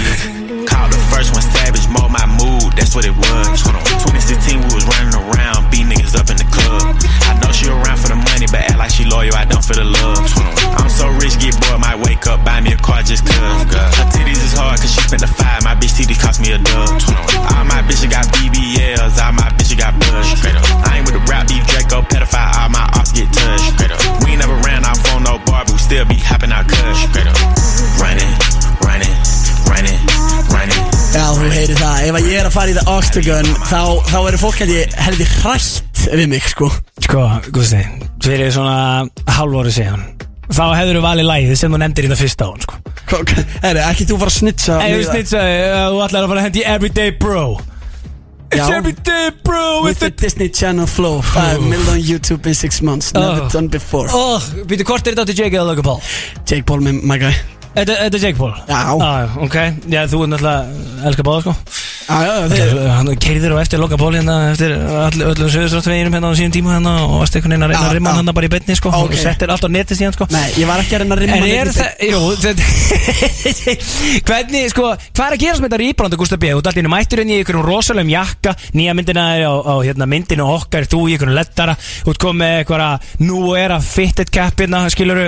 I: Call the first one savage, mold my mood, that's what it was. Hold on. 2016, we was running around, beat niggas up in the club. I know she around for the money, but act like she loyal, I don't for the love. Hold on. I'm so rich, get bored, might wake up, buy me a car just cuz. Her titties is hard, cause she spent the five, my bitch titties cost me a dub. Hold on. All my bitches got BBLs, all my bitches got buzz. Straight up. I ain't with the rap beef, Draco, pedophile, all my ops get touched. Straight up. We ain't never ran off on no bar, but we still be hopping out cuz. Straight up. Running, running, running, running.
D: Já, þú heyrir það, ef að ég er að fara í The Octagon þá, þá eru fólk að ég heldur hrætt við mig, sko
B: Sko, Guðsti, fyrir svona hálfóri síðan Þá hefur þú valið lægið sem þú nefndir í það fyrsta á hún sko.
D: Herri, ekki þú fara að snitsa
B: Ef
D: með
B: þú
D: það?
B: snitsaði, uh, þú ætlar að fara að hendi Everyday Bro It's Everyday Bro
D: With the Disney Channel flow 5 million on YouTube in 6 months Never
B: Oh.
D: done before
B: Oh, býtu hvort er þetta átti Jake eða Logan Paul?
D: Jake Paul, my, my guy
B: Þetta þetta er Jake Paul?
D: Já.
B: ah, Ok, já, þú er náttúrulega elskar báða sko
D: Já, já, þið
B: Hann keirðir á eftir Logan Paul hérna eftir öll, öllum söðustráttveginum hérna á sínum tíma hérna og varst einhvern veginn að reyna
D: Já,
B: að rimma
D: já.
B: hann hérna bara í betni sko
D: Ok.
B: og settir allt á neti síðan sko
D: Nei, ég var ekki að reyna að rimma
B: En
D: neitt
B: er
D: við þig.
B: það, jú, þetta Hvernig, sko, hvað er að gerast með þetta rýbranda, Gustaf B? Þú ert allir mætturinn í einhverjum rosalegum jakka Nýja myndina er á, á hérna, myndinu okkar Þú í einhverjum lettara Þú ert komið með einhverja nú er að fitted cap hérna, skilur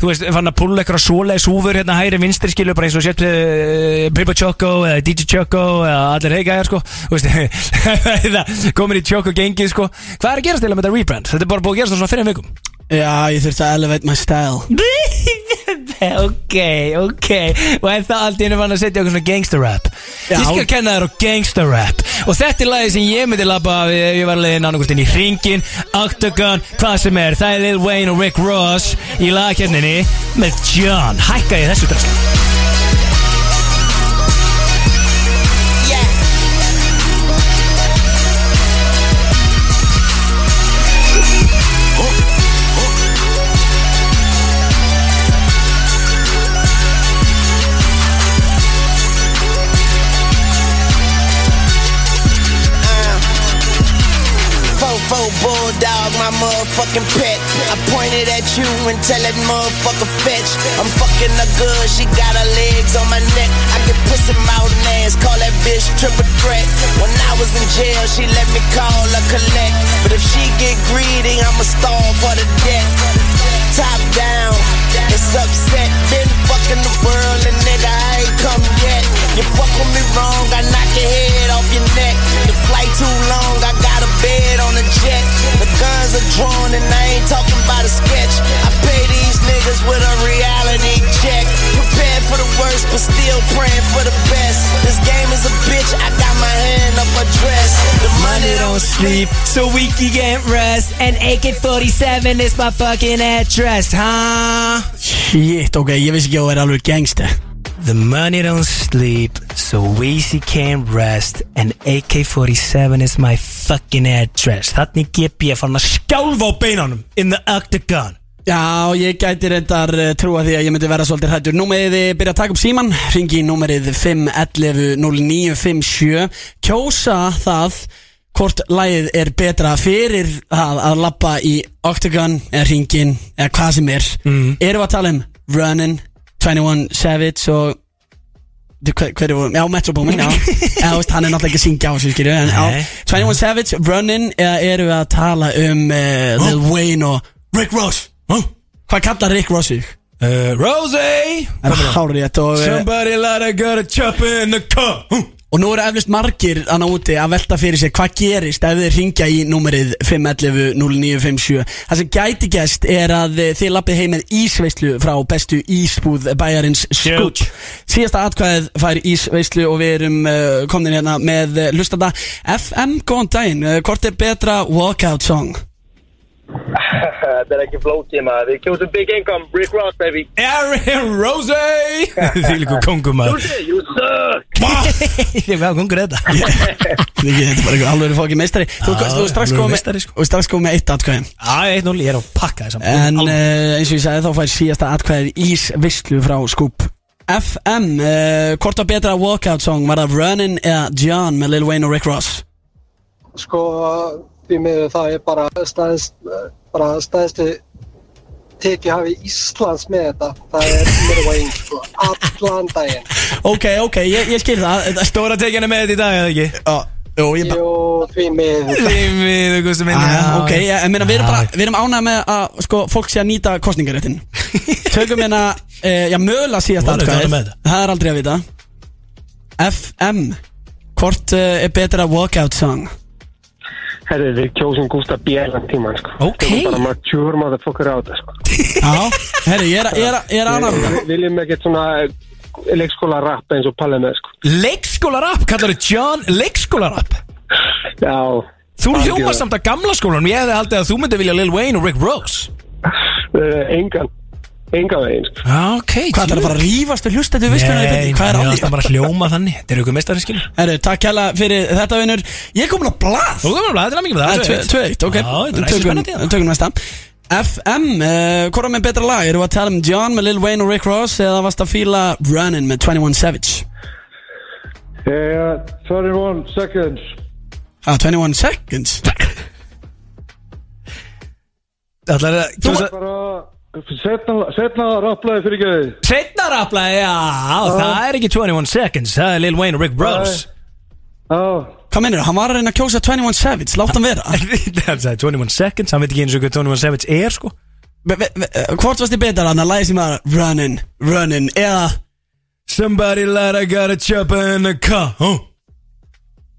B: Þú veist, fann að pulla einhverja svoleið súfur hérna hægri vinstri skilur Bara eins og sért uh, Pippa Choco eða DJ Choco eða allir heikæðar, sko Þú veist, það komin í Choco gengið, sko Hvað er að gerast eiginlega með þetta rýbrand? Þetta er bara búið að gerast á svona fyrir vikum
D: Já, ég þurfti að elevate my style
B: ok, ok og en það allt í hennu fann að setja okkur svona gangster rap
D: Já.
B: ég skal kenna þér á gangster rap og þetta er lagið sem ég myndi labba af ef ég var að leiðin annarkvist inn í Ringin Octagon, hvað sem er það er Lil Wayne og Rick Ross í lagakefninni með John, hækka ég þessu drasl
J: Fofo bulldog, my motherfucking pet. I pointed at you and tell that motherfucker fetch. I'm fucking her good, she got her legs on my neck. I get pussy mouth and ass, call that bitch triple threat. When I was in jail, she let me call her collect. But if she get greedy, I'ma starve her to death. Top down, it's upset. Been fucking the world and nigga, I ain't come yet. You fuck with me wrong, I knock your head off your neck. The flight too long, I got a bed on a jet. The guns are drawn and I ain't talking about a sketch. I pay these niggas with a reality check. Prepared for the worst, but still praying for the best. This game is a bitch, I got my hand up a dress. The money don't
B: sleep, so we can't rest and AK-47 is my fucking address, huh?
D: Shit, ok, ég vissi ekki að þú er alveg gangster
B: The money don't sleep, so easy can't rest And AK-47 is my fucking address Þannig gep ég fann að skjálfa á beinunum In the octagon
D: Já, ég gæti reyndar eh, trúa því að ég myndi vera svolítið hættur Númerið eh, byrja að taka upp síman Ringi í númerið 511-0957 Kjósa það hvort lagið er betra fyrir það að lappa í Octagon eða ringin eða hvað sem er mm. Erum við að tala um Runnin, 21 Savage og Þú, hver, hver er, já, Metro Boomin, já Já, þú veist, hann er náttúrulega ekki að syngja á þessu, skilju En á
B: Nei.
D: 21 Savage, Runnin Eða eru við að tala um uh, Lil Wayne og Rick Ross
B: huh?
D: Hvað kallar Rick Ross sig?
B: uh, Rosie
D: Það er hárétt og, eh,
B: Somebody let her go to chop in the car huh?
D: og nú eru eflust margir annað úti að velta fyrir sér hvað gerist ef þið ringja í númerið 511-0957 Það sem gæti gæst er að eh, þið lappið heim með ísveislu frá bestu ísbúð bæjarins skútt Síðasta atkvæðið fær ísveislu og við erum uh, komin hérna með uh, lustanda FM, góðan daginn, uh, hvort er betra walkout song?
K: Eh, Þetta er ekki flótið maður, við kjóðum Big Income, Rick Ross baby
B: Aaron Rosie Því líku kongum
K: You
B: að
K: say you suck
B: Ég var kongur þetta
D: Þetta er ekki- þetta er bara alveg fókið meistari Þú
B: Já,
D: þú er strax
B: alvöru
D: komið
B: meistari,
D: með,
B: sko.
D: sko. kom með eitt atkvæðin
B: Æ, 1-0, ég er að pakka þessam
D: En uh, eins og ég sagði þá fær síðasta atkvæðið Ísvislu frá Skúb FM, uh, hvort var betra walkout song, var það Runnin' eða John með Lil Wayne og Rick Ross
L: Sko, því miður það er bara stæðst, bara stæðstu tekið hafi Íslands með þetta. Það er myrvæðing, sko, allan daginn.
D: Ok, ok, ég, ég skil það Þetta-
B: Stóra tekjana með þetta í dag, eða ekki?
D: Já, Jú, ég bara
L: Jú, því miður.
B: Tímið, þú veist að minna
D: Ah, ok, ég, ég meina við erum
B: Já.
D: bara, við erum ánægð með að sko, fólk sé að nýta kostningaréttin Tökum hérna, uh, já mögulega síðast
B: Vonandi ánægð
D: atkvæðið
B: með þetta.
D: Það er aldrei að vita FM, hvort uh, er betra walkout song?
K: Herri, við kjóðum Gustaf B. allan tíman sko
B: Ok.
K: Tökum bara mature motherfucker á þetta sko
D: Já, herri, ég er, ég er, ég er
B: um
D: ánægð með það.
K: Við viljum ekkert svona eh, leikskóla rapp eins og Palli með sko
B: Leikskólarapp, kallar þið John Leikskólarapp
K: Já
B: Þú
K: Algjörlega.
B: hljómar samt að gamla skólanum Ég hefði haldið að þú myndi vilja Lil Wayne og Rick Rose
K: Eh, Engan, engan veginn sko
B: Ok,
D: Hvað ætlar að fara að rífast og hljústa þetta vissluna
B: Nei,
D: Hvað er
B: mér
D: allir
B: fannst það bara hljóma þannig Þetta eru ykkur mestari skil
D: Herru, takk hella fyrir þetta vinnur Ég er komin á blað
B: Þú komum að þetta er mikið
D: Það er 2-1, ok
B: Já, þetta er
D: Tökum-
B: spennandi, hérna. já.
D: Tökum næsta FM, uh, hvora með betra lag? Eru við að tala um John með Lil Wayne og Rick Ross eða varst að fíla Runnin' með 21 Savage?
K: Yeah, 21 seconds
D: Ah, 21 Seconds
B: Ætlar að Þú veist að
K: Bara, setna rapplaði fyrir geði
B: Setna rappla, já Það er ekki 21 seconds Það er Lil Wayne og Rick Rose
K: Já,
D: Hvað meinir, hann var að reyna að kjósa 21 Savage, látt hann vera
B: Það sagði 21 seconds Hann veit ekki eins og hvað 21 seconds er sko
D: Ve- ve- ve- eh, Hvort varst þið betra hann að lagi sem að Runnin', Runnin' eða
B: Somebody let I got a chopper in the car huh?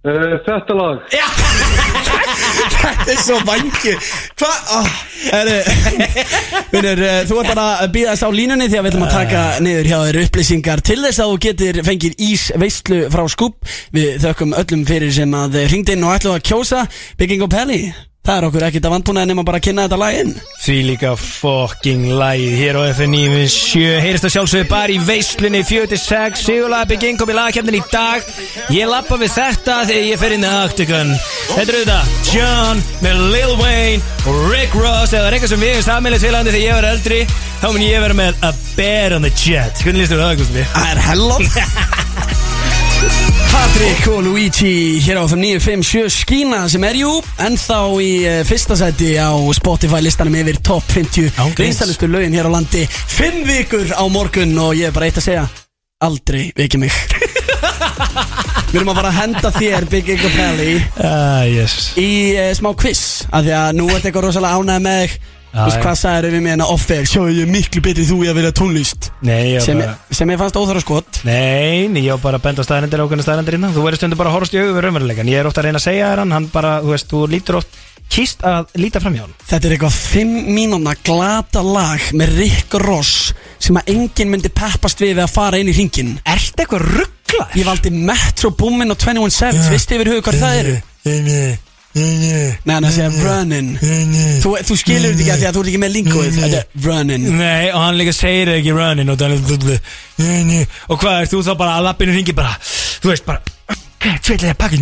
K: eh, þetta lag
D: Þetta er svo vangi Hvað? Oh, Vinnur, eh, þú ert bara að býða þess á línunni því að við ætlum að taka niður hjá þér upplýsingar til þess að þú getur fengir ís veistlu frá skúb Við þökkum öllum fyrir sem að hringd inn og ætlum að kjósa Bygging og Pelli Það er okkur ekkert að vandbúnaði nema bara að kynna þetta lag inn
B: Því líka fokking lægið hér á FN 7 Heyrist að sjálfsögðu bara í veislunni 46 Sigurlaga bygging kom í lagakefnin í dag Ég lappa við þetta þegar ég fer inn í Octagon Þetta eru þetta John með Lil Wayne og Rick Ross Ef það er eitthvað sem við erum sammeilið félagandi þegar ég var eldri Þá mun ég vera með A Bear on the Jet Hvernig lístur það, Guðsmi?
D: Það er hellon Patrik og Luigi hér á FM 957 Skína sem er jú ennþá í uh, fyrsta sæti á Spotify listanum yfir top 50
B: Ángríns.
D: vinsalustu lögin hér á landi Fimm vikur á morgun og ég er bara eitt að segja Aldrei veki mig Við erum að fara að henda þér Big Ego Pelli
B: Ah, yes
D: í uh, smá quiz af því að nú ert eitthvað rosalega ánægð með þig Þú veist
B: já.
D: hvað sagðir við hérna mér en að off-air Sjá ég er miklu betri þú í að vera tónlist
B: Nei, ég
D: sem,
B: var bara
D: sem ég fannst óþara skot
B: Nei, nei, ég var bara að benda á staðarindir ákveðna staðarindir innan hérna. Þú verður stundu bara að horfast í augu við raunveruleikan Ég er ofta að reyna að segja þér hann Hann bara, þú veist, þú lítur oft Kýst að líta fram hjá hann
D: Þetta er eitthvað 5 mínúna glata lag með Rick Ross sem að enginn myndi peppast við við að fara inn í ringin
B: Ertu eitthvað ruggla?
D: Ég valdi Metro Boomin og 21 Savage, yeah. vistu yfir hug hvað það eru? Nei, hann að segja running Þú, þú skilur þetta ekki að því að þú ert ekki með lingoið Þetta er running
B: Nei, og hann líka segir ekki running og, þannig- og hvað er þú þá bara að lappinu ringi bara Þú veist bara Tveitlega pakki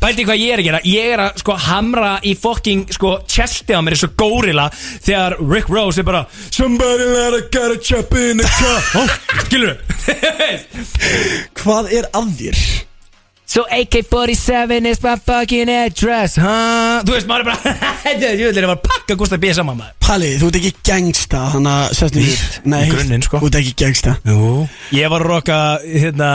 B: Bælti hvað ég er að gera Ég er að sko hamra í fokking sko Chesti á mér eins og górila Þegar Rick Rose er bara Somebody let a get a chop in the car Skilur
D: Hvað er að þér?
B: So AK-47 is my fucking address huh? Þú veist maður er bara Þetta er jöðlega bara að pakka Gustaf B. saman maður
D: Palli, þú ert ekki gangsta Þannig að sérstu
B: Víst,
D: Nei,
B: í grunninn, sko.
D: Þú ert ekki gangsta
B: Jú Ég var að rocka hérna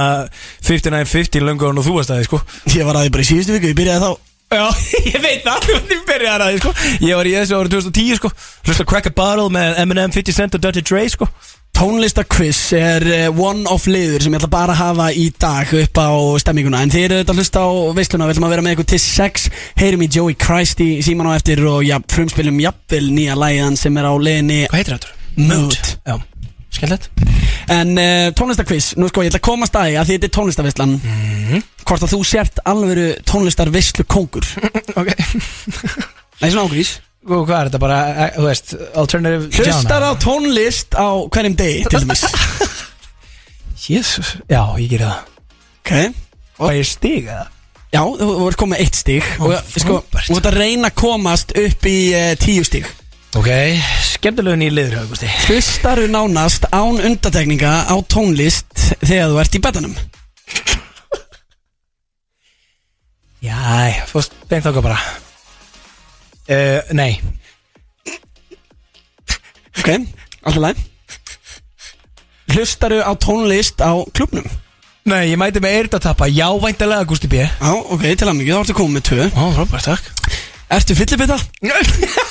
B: 59-50 löngu og þú varst að því sko
D: Ég var að því bara í síðustu viku Ég byrjaði þá
B: Já, ég veit það, þú byrjar að því sko Ég var í þessu árið 2010 sko Hlusta Crack a Bottle með Eminem, 50 Cent og Dirty Dre sko
D: Tónlistakviss er eh, one of liður sem ég ætla bara að hafa í dag upp á stemminguna En þið eru auðvitað að hlusta á veisluna, við ætlum að vera með ykkur til 6 Heyrum í Joey Christ í síman á eftir og ja, frumspilum jafnvel nýja læðan sem er á leiðinni
B: Hvað heitir þetta?
D: Mood
B: Já, skemmtilegt
D: En uh, tónlistakviss, nú sko ég ætla að komast að því að því þetta er tónlistavislan Hvort að þú sért alvöru tónlistarvislu kongur
B: Ok
D: Nei, svona ágrís
B: Og hvað er þetta bara, eh, þú veist, alternative
D: Hlustar á tónlist á hverjum degi, til dæmis
B: Jesus Já, ég gerir það
D: Ok
B: Hvað ég stig eða?
D: Já, þú þú ert komið með eitt stíg
B: Ó,
D: og sko,
B: frábært.
D: þú ert að reyna að komast upp í uh, tíu stíg
B: Ok, skemmtilegu nýr liður Augusti
D: Hlustaru nánast án undatekninga á tónlist þegar þú ert í betanum
B: Jæ, fórst beint þáka bara uh, Nei
D: Ok, alltaf læg Hlustaru á tónlist á klubnum
B: Nei, ég mæti með eyrdatappa, já, væntalega Augusti B Ó,
D: Já, ok, til að mikið, þá ertu komið með tvö
B: frábært, takk
D: Ertu fyllibita?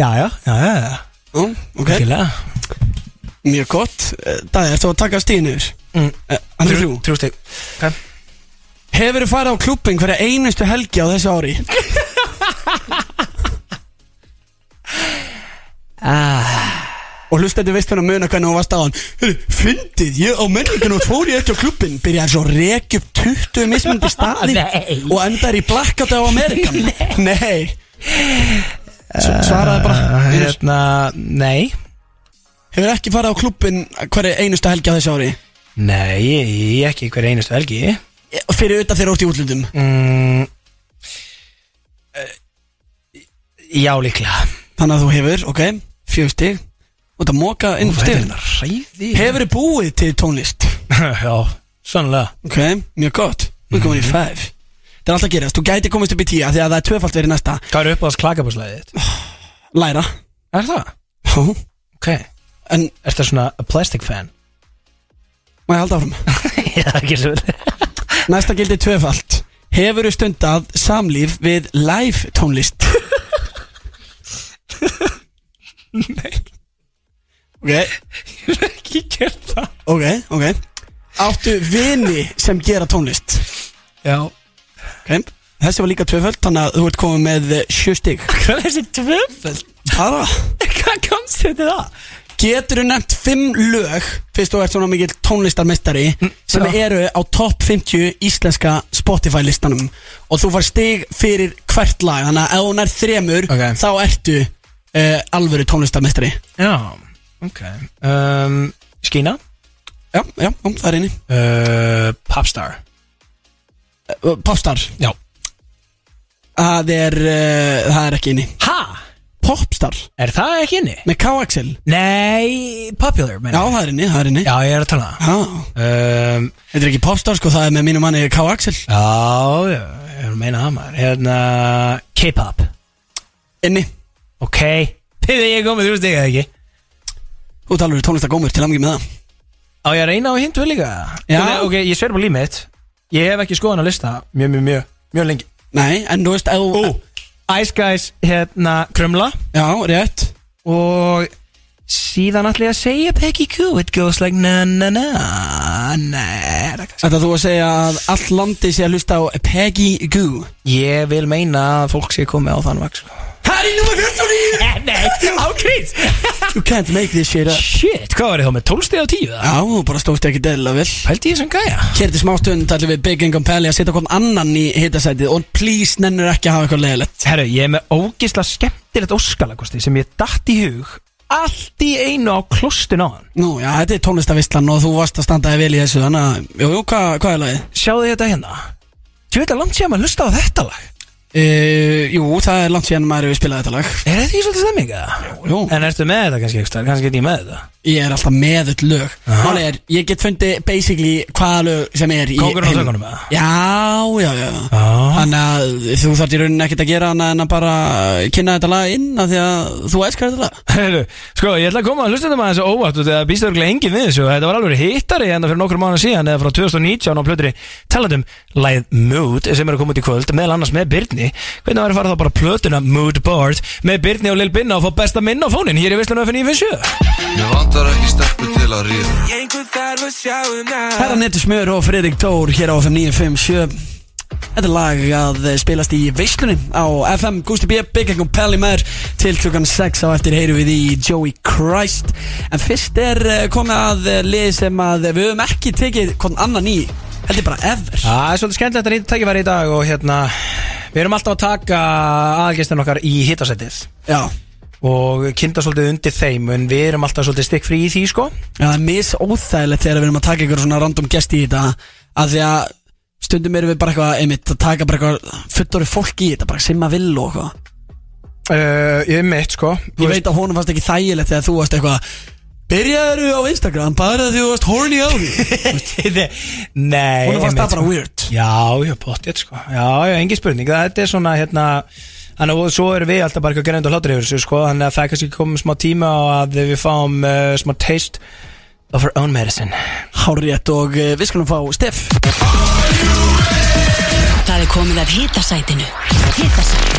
B: Já, já, já, já, já
D: Já, ok,
B: Virkilega.
D: mjög gott Eh, Dæði, ertu að taka stíðinu yfir?
B: Mm.
D: Eh, Hann er þrjú
B: Þrjú steg
D: Hefur þú farið á klubbin hverja einustu helgi á þessu ári? Og hlusta þetta veist hún að muna hvernig hún var staðan Fyndið, ég á menningun og fór ég ekki á klubbin Byrjaði svo að rekja upp 20 mismundi staði
B: Nei.
D: Og endar í Blackout á Amerikan Nei S Svaraði bara Hefur
B: Hérna, nei
D: ekki farið á klubbin hverja einustu helgi á þessu ári?
B: Nei, ég, ég ekki hver einustu helgi
D: Fyrir auðvitað þeirra út í útlundum
B: mm, Já, líklega
D: Þannig að þú hefur, ok, fjögur stig Og það móka inn
B: Þetta er
D: stig
B: hérna ræði
D: Hefur þið búið til tónlist?
B: Já, sannlega
D: Ok, mjög gott Þú er komin í 5 Það er alltaf að gerast, þú gæti komist upp í 10 af Því að það er tvöfalt verið næsta
B: Hvað er upp á þess klakabúslæðið þitt?
D: Læra
B: Er það?
D: Hú.
B: Ok Er
D: En
B: það svona a plastic fan?
D: má ég halda áfram
B: Já, ekki svo vel
D: Næsta gildi tvöfalt Hefur þið stundað samlíf við live tónlist? Nei
B: Ekki gert það
D: Ok, ok, ok Áttu vini sem gera tónlist
B: Já
D: Ok, þessi var líka tvöfalt Þannig að þú ert komið með 7 stig
B: Hvað er þessi tvöföld?
D: Bara
B: Hvað komst þér til það?
D: Getur þú nefnt fimm lög Fyrst þú ert svona mikill tónlistarmestari Sem
B: Mm, já.
D: eru á topp 50 íslenska Spotify listanum Og þú far stig fyrir hvert lag Þannig að ef hún er þremur
B: Ok.
D: Þá ertu uh, alvöru tónlistarmestari
B: Já, ok um, Skína
D: Já, já, já, það er eini
B: uh, Popstar
D: uh, Popstar
B: Já
D: Það er, uh, það er ekki eini
B: Ha?
D: Popstar
B: Er það ekki inni?
D: Með K-Axel
B: Nei, popular
D: Já,
B: meina ég.
D: það er eini, það er eini
B: Já, ég er að tala
D: Já,
B: um,
D: þetta er ekki Popstar sko Það er með mínu manni K-Axel
B: Já, já, ég er að meina það maður Hérna, K-pop
D: Inni
B: Ok, piði ég er komið, þú veist ekki ekki
D: Þú ert alvöru tónlistargómur til amgjum með það
B: Á ég að reyna á hindu líka
D: Já.
B: Ok, ok, ég sver bara líf mitt Ég hef ekki skoðan að lista mjög, mjög, mjög, mjög lengi
D: Nei, en þú veist ef þú-
B: Ú, Ice Guys, hérna, Krumla
D: Já, rétt
B: Og síðan ætla ég að segja Peggy Q It goes like na na na na er það kannski?
D: Þetta þú að segja að allt landi sé að hlusta á Peggy Goo
B: Ég vil meina að fólk sé komið á þann vaks
D: Ha, Það er í nummer 49
B: Eh, Nei, ákveð
D: You can't make this shit up
B: Shit, hvað var ég þá með 12 stið á 10 það?
D: Já, þú bara stóðst ekki dæla vel
B: Pældi ég sem gæja
D: Hér til smástund ætlum við Big Income Pally að setja hvern annan í hitasætið Og please nennir ekki að hafa eitthvað leðilegt
B: Herru, ég er með ógisla skemmtilegt óskalakosti sem ég datt í hug allt í einu á klostun á hann
D: Nú, já, þetta er tónlistavistlan og þú varst að standa þig vel í þessu Þannig að, jú, jú, hvað hva er lagið?
B: Sjáðu þið þetta hérna Þú veit að langt sé að maður hlusta á þetta lag
D: Uh, jú, það er langt síðan maður hefur spilað þetta lag
B: Er þetta í svolítið stemming eða?
D: jú.
B: En ertu með þetta kannski ekki? Kannski get ég með þetta
D: Ég er alltaf með öll lög Máli er, ég get fundið basically hvaða lög sem er í
B: Kókurinn á
D: heiminum.
B: tökunum, eða?
D: Já, já, já
B: Já.
D: Þannig að þú þarft í rauninni ekkert að gera hana en að bara kynna þetta lag inn af því að þú elskar þetta lag
B: Heyrðu, Sko, ég ætla að koma að hlusta þetta maður þessu óvart og það býst örgulega enginn við þessu þetta var alveg hittari en fyrir nokkur mánu síðan eða frá 2019 á plötri talandum Læð Mood sem er að koma út í kvöld meðal annars með Byrni hvernig var að fara þá bara plötuna Mood Board með Byrni og Lil Binna og fá besta minn á fónin hér í Visslun FN 957
M: Mér vantar ekki steppu til að ríða
D: Herra Nettur Smjör og Fredrik Tór hér á FM 957 Þetta er lag að spilast í veislunni á FM Gusti B, Big Egg og Pelli Mær til klukkan 6 á eftir heyrum við í Joey Christ En fyrst er eh, komið að eh, lið sem að við höfum ekki tekið hvern annan í Þetta er bara ever
B: Það er svolítið skemmtilegt að nýta tækifæri í dag og hérna við erum alltaf að taka aðalgestin okkar í hittasettið
D: Já,
B: og kynnta svolítið undir þeim en við erum alltaf svolítið stikk frí í því sko
D: Já, það er misóþægilegt þegar við erum að taka ykkur svona random gest í þetta að því að stundum erum við bara eitthvað einmitt að taka bara eitthvað fullori fólk í þetta bara sem að vil og eitthvað
B: uh, Ég er mitt sko Þú
D: ég
B: veist-
D: veit að honum fannst ekki þægilegt þegar þú varst eitthvað byrjaður á Instagram bara því þú varst horny á því
B: Nei
D: honum fannst
B: einmitt,
D: það bara
B: sko.
D: weird
B: Já, já, pottjétt sko Já, já, engin spurning Þetta er svona, hérna Þannig að svo erum við alltaf bara eitthvað gerðind og hlátur yfir þessu sko Þannig að það er kannski komið smá tíma á að við fáum uh, smá taste of our own medicine
D: hárétt og eh, við skulum fá Steff
E: Það er komið að hitasætinu. Hitasætinu.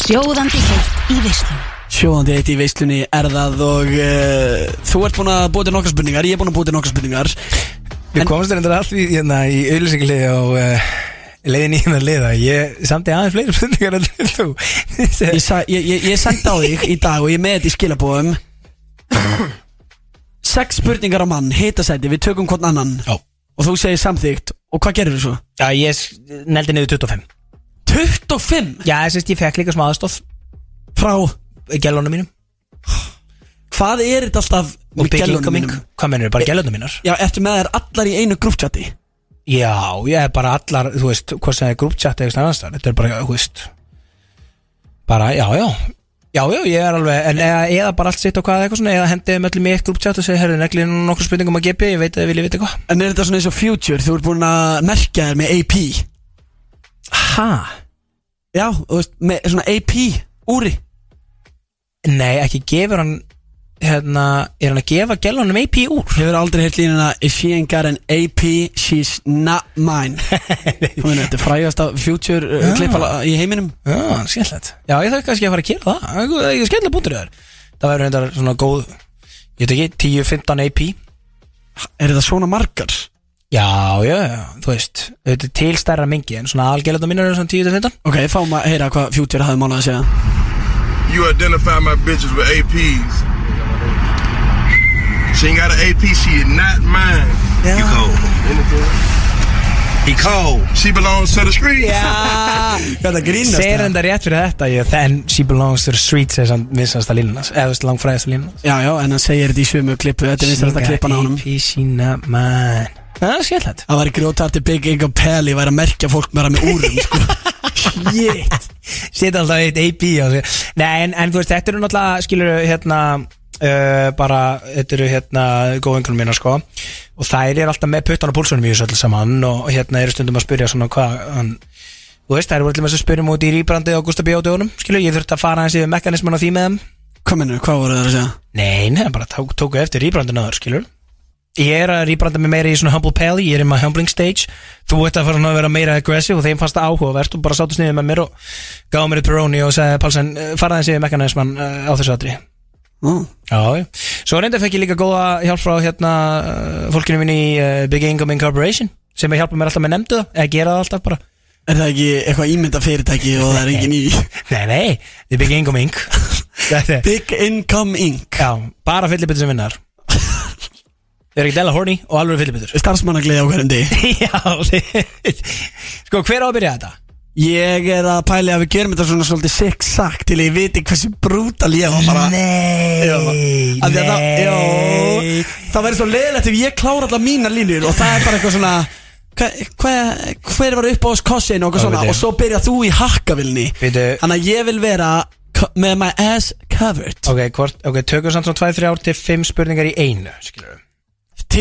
E: Sjóðandi heitt í veislunni.
D: sjóðandi eitt í veislunni erðað og uh, þú ert búin að búið til nokkra spurningar ég er búin að búið til nokkra spurningar
B: Við komumst reyndar allt í, hérna, í auðlýsinglið og uh, leiðin í hérna liða Ég samti aðeins fleiri spurningar en þú
D: ég, sa, ég, ég, ég sendi á þig í dag og ég er með þetta í skilabóðum Sex spurningar á mann, hitasæti, við tökum hvern annan
B: Já.
D: Og þú segir samþygt Og hvað gerir þú svo?
B: Já, ég neldi niður 25
D: 25
B: Já, ég syns ég fekk líka smá aðstof
D: frá
B: Gælunum mínum
D: Hvað er þetta alltaf
B: og
D: með
B: byggingum
D: gælunum
B: mínum
D: mínum?
B: Hvað mennur, bara gælunum mínar?
D: Já, ertu með þær allar í einu grúptjati
B: Já, ég er bara allar, þú veist, hvað sem er grúptjátt eða annars þar, þetta er bara, þú veist bara, já, já Já, já, ég er alveg, en eða, eða bara allt sitt og hvað eitthvað svona, eða hendið með öllum í eitt grúptjátt og segja, herrðu, neglið nú nokkur spurningum að gepi, ég veit að þið viljið vita hvað
D: En er þetta svona eins og future, þú ert búin að merkja þær með AP Já,
B: Ha?
D: þú veist, með svona AP úri
B: Nei, ekki gefur hann hérna, er hann að gefa gælunum AP úr?
D: Hefur aldrei heilt línuna If she ain't got an AP, she's not mine Hún er þetta frægast af future uh,
B: Já.
D: klippala í heiminum
B: Já, skemmtilegt Já, ég þarf kannski að fara að gera það, það er skemmtilega búndur þér Það verður reyndar svona góð, ég veit ekki, 10-15 AP
D: Er þetta svona margar?
B: Já, já, já, þú veist Þetta er til stærra mingi en svona algjörlega mínur er svona 10-15
D: Ok, fáum að heyra hvað future hafði málað að segja
M: You identify my bitches with APs She ain't got an AP, she is not mine You cold He cold She belongs to the street
D: Hvað það grínast
B: Segir enda rétt fyrir þetta ég, Then she belongs to the streets er samt vinsasta línunas Eða þú veist langfræðasta línunas
D: Já, já, en hann segir þetta í sömu klippu Þetta er vinsast að klippa
B: She
D: hann
B: got AP, she not mine Það er skemmtilegt
D: Það væri grjótarti Big Egg og Pelli væri að merkja fólk meira með úrum sko.
B: Shit Sita alltaf eitt AP á sig Nei, en, en þú veist, þetta eru náttúrulega skilur hérna Uh, bara, þetta eru hérna góðingunum mína sko og þær eru alltaf með puttan á púlsunum í þessu öll saman og hérna eru stundum að spyrja svona hvað hann þú veist, þær voru allir með þessu spyrjum um út í rýbrandi og Gustaf B. á dögunum skilur, ég þurfti að fara hans yfir mekanisman á því með þeim
D: Hvað mennur, hvað voru það að segja?
B: Nei, nei, bara tók, tóku eftir rýbrandin aður, skilur Ég er að rýbranda mig meira í svona humble pally Ég er in my humbling stage Þú ert að fara að vera meira aggressive og þeim fannst það áhugavert og bara sátu sniðið með mér og gáðu mér peróni og sagði Pálsson eh, faraði þessi mekanismann eh, á þessu aðri
D: Nú,
B: Já, já. svo reynda fekk ég líka góða hjálp frá hérna eh, fólkinu mín í eh, Big Income Incorporation sem ég hjálpa mér alltaf með nefndu það, eða gera það alltaf bara
D: Er það ekki eitthvað ímynda fyrirtæki og það er engin í
B: Nei, nei, þið Big Income Inc
D: Big Income Inc
B: Já, bara fyllibittur sem vinnar Þau eru ekki dela horny og alveg fyllibittur
D: Starfsmannagliði á hverjum degi
B: Já, þið- sko hver á að byrja þetta?
D: Ég er að pæli að við gerum þetta svona svolítið sikk-sakk til ég viti hversu brútal ég var bara
B: Nei,
D: Jó, Af því að það,
B: nei.
D: jó, það verður svo leiðilegt ef ég klára allar mínar línur og það er bara eitthvað svona hva- hva- hver var upp á oss kossin og eitthvað svona
B: veitum.
D: og svo byrja þú í hakkavilni
B: Veitu-
D: þannig að ég vil vera co- með my ass covered
B: Ok, hvort, ok, tökum samt svona 2-3 ár til 5 spurningar í einu, skilur við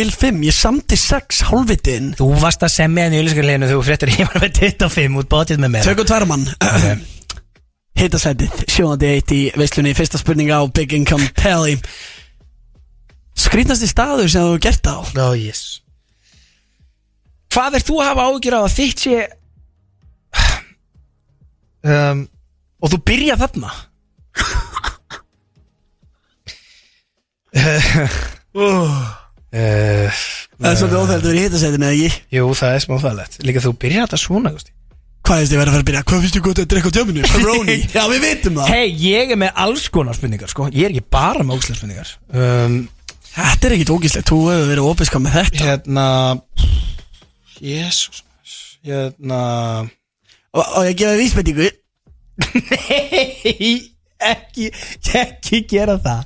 D: til 5, ég samti 6 hálfitin
B: Þú varst að semja henni í ylískarleginu þegar þú fréttir ég var með 25 út bótið með mér
D: Tökum tvermann Hittasætið, sjóðandi eitt í veislunni Fyrsta spurning á Big Income Pally Skrítnasti staður sem þú hefur gert á
B: oh, yes. Hvað er þú að hafa ágjur á að þitt sé um, Og þú byrja þarna uh,
D: Það er svolítið óþældur í hittasætinu eða ekki
B: Jú, það er smá fæðlegt Líka þú byrja þetta svona, Gusti
D: Hvað finnst þið verið að fara að byrja? Hvað finnst þið gott að drekka á tjöminu? Pepperoni Já, við vitum það
B: Hei, ég er með alls konar spurningar, sko Ég er ekki bara með ógislega spurningar um,
D: Þetta er ekkit ógíslegt, þú hefur verið ópiskað með þetta
B: Hérna Jésús Hérna
D: Og, og ég gefa þér vísbendingu
B: Nei, ekki, ekki gera það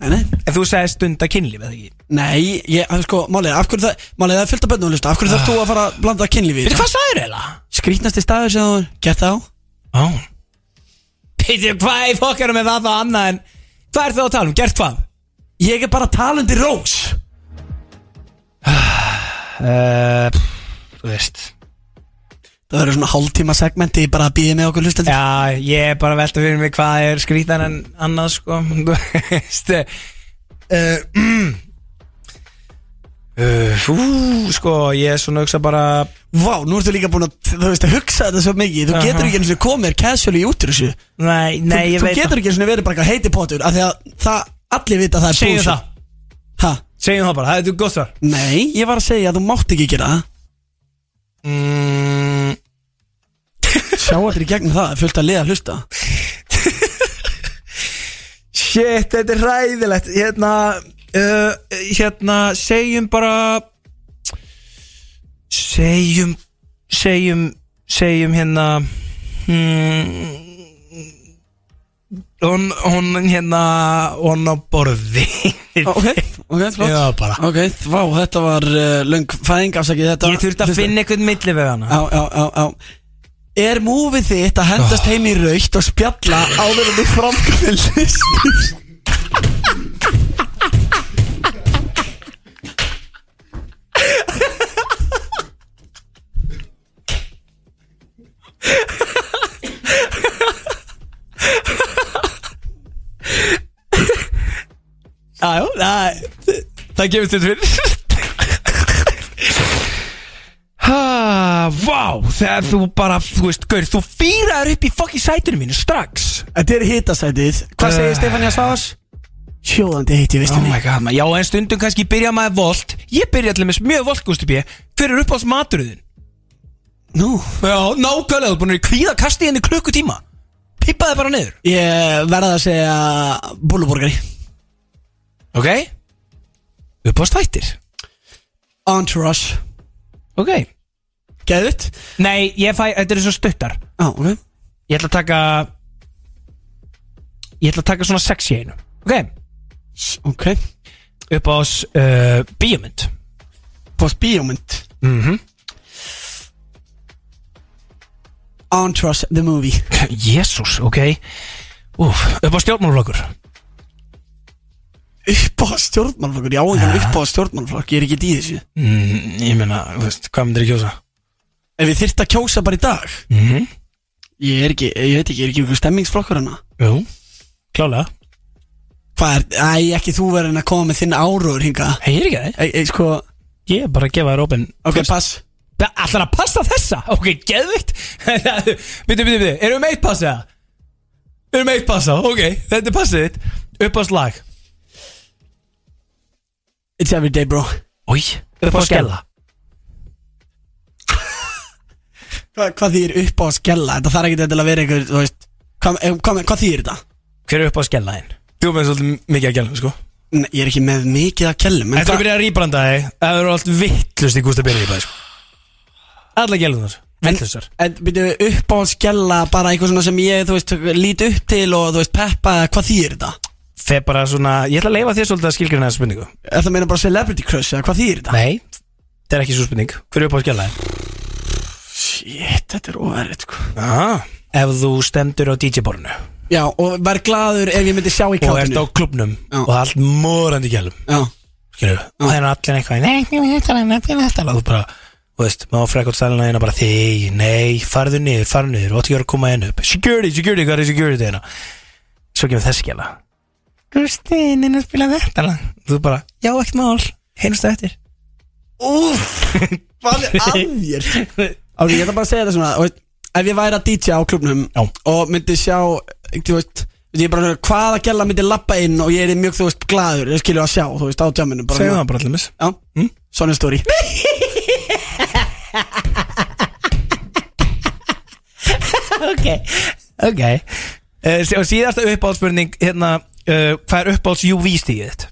D: Nei, nei
B: En þú sagði stunda kynlíf, eða ekki?
D: Nei, ég, að sko, málið, af hverju það Málið, það er fullt af bönnum að hlusta Af hverju þarf þú að fara að blanda kynlífi í
B: Veitu
D: þetta?
B: hvað sagðir eða?
D: Skrítnasti staður sem þú hefur gert á
B: Á Veitu hvað í fokkarum með það það annað en Hvað er það að tala um? Gert hvað?
D: Ég er bara talandi rós
B: Uh, þú veist
D: Það verður svona hálftíma segmenti bara að býða með okkur hlustandi
B: Já, ég er bara að velta fyrir mig hvað er skrítan en annað sko Þú veist uh, mm. uh, Ú, sko, ég er svona að hugsa bara
D: Vá, nú ertu líka búin að, þú veist, að hugsa þetta svo mikið Þú
B: Aha.
D: getur ekki eins og komið er casual í út úr þessu
B: Nei,
D: Þú,
B: nei, ég
D: þú
B: veit
D: getur ekki eins og verið bara eitthvað heiti pottur Af því að það, allir vita að það er
B: Segjum
D: bullshit.
B: það,
D: Ha?
B: segjum það bara, það er gott svar
D: Nei, ég var að segja að þú mátt ekki gera það
B: mm,
D: Sjá allir í gegnum það, fullt að liða að hlusta
B: Shit, þetta er ræðilegt Hérna, uh, hérna, segjum bara Segjum, segjum, segjum hérna hmm, Hún, hún hérna, hún á borði
D: Ok,
B: hérna.
D: ok, flott
B: Já, bara.
D: Ok, vá, þetta var uh, löng fæðing afsakið þetta
B: Ég þurfti að
D: hlusta-
B: finna einhvern milli við hana
D: Já, já, já, já Er múfið þitt að
B: Ah.
D: hendast heim í raukt og spjalla áður en þú framkvæmir listir?
B: Já, já, það, það gefur þetta fyrir Ha, Vá, þegar þú bara, þú veist, gaur, þú fýraður upp í fokki sætunum mínu strax
D: Þetta er hitasætið Hvað
B: Uh.
D: segir Stefania Svavas? Sjóðandi heiti, veistu
B: Oh
D: mig
B: my god, maður, já, en stundum kannski byrja maður volt Ég byrja allir með mjög volt, Gusti B Hver er upp á smaturðin?
D: Nú
B: Já, nákvæmlega, þú er búin að kvíða kastið henni klukkutíma Pippaði bara niður
D: Ég verða að segja Búluborgari
B: Ok Upp á stættir
D: Entourage
B: Ok
D: Geðvitt
B: Nei, ég fæ, þetta er svo stuttar
D: Já, ah, ok
B: Ég ætla að taka Ég ætla að taka svona sex í einu Ok
D: Ok
B: Upp á uh, bíómynd
D: Post bíómynd
B: mm
D: Entourage the movie
B: Jésús, ok Úf, upp á stjórnmálflokkur
D: Upp á stjórnmálflokkur, já, engan upp á stjórnmálflokk Ég er ekki í þessu
B: mm, Ég meina, þú veist, hvað myndir ég kjósa?
D: Ef við þyrft að kjósa bara í dag
B: Mm -hmm.
D: Ég er ekki, ég veit ekki, ég er ekki ykkur stemmingsflokkur hana
B: Jú, klálega
D: Hvað er, æ, ekki þú verðin að koma með þinn áróður hinga
B: Hei, ég er ekki það
D: Ei, ei, sko,
B: Ég er bara að gefa þér opinn
D: ok, pass
B: Ætlar að passa þessa? Ok, geðvikt Byttu, byttu, byttu, erum við meitt passa? Erum við meitt passa? Ok, þetta er passið þitt Upp á slag
D: It's every day, bro
B: Új, upp á skella
D: hvað, hvað þýr upp á að skella Þetta þarf ekki til að vera einhver, þú veist Hvað, eh, hvað, hvað þýr þetta?
B: Hver er upp á skellaðin? Þú með svolítið mikið að gælum, sko
D: Nei, ég er ekki með mikið að kellum
B: Eftir að byrja að rýbranda þig Það eru allt vittlust í Gústa Byrja rýbrandi, sko Alla gælunar, vittlustar
D: En byrju upp á að skella bara eitthvað svona sem ég, þú veist, lít upp til og þú veist, peppa, eða hvað þýr þetta?
B: Þeir bara svona, ég ætla að leifa þér svolítið að skilgrina þessa spurningu
D: Er það meina bara celebrity crush eða hvað þýr þetta?
B: Nei, þetta er ekki svo spurning Hver er upp á skellaðin?
D: Shit, þetta er óverið, sko
B: Ah, ef þú stendur á DJ-borinu
D: Já, og verð glaður ef ég myndi sjá í
B: og ert á
D: kátinu
B: klubnum og það er allt morandi gælum
D: Já,
B: skilur, og það er allir eitthvað nei, ég vil þetta, nei, ég vil þetta og þú bara, þú veist, maður frekk átt stælina hérna bara þig, nei, farðu niður, farðu niður og þú er að koma henn upp, security, security hvað er security hérna svo kemur þessi gæla Kristinn, inn að spila þetta lag. þú bara, já, ekkert mál, heimstu eftir
D: Úff, hvað er að þér? Ári, ég ætla bara að segja þetta svona þú veist, Ef ég væri að DJ á klubnum Já. Og myndi sjá, þú veist Ég er bara, hvaða gæla myndi lappa inn Og ég er mjög, þú veist, glaður Ég skilju að sjá, þú veist, á tjáminu
B: segðu það Hm? bara allir mis
D: Já, mm? svona stóri
B: ok, ok uh, og síðasta uppáhaldsspurning hérna, uh, hvað er uppáhalds UV-stíðið þitt?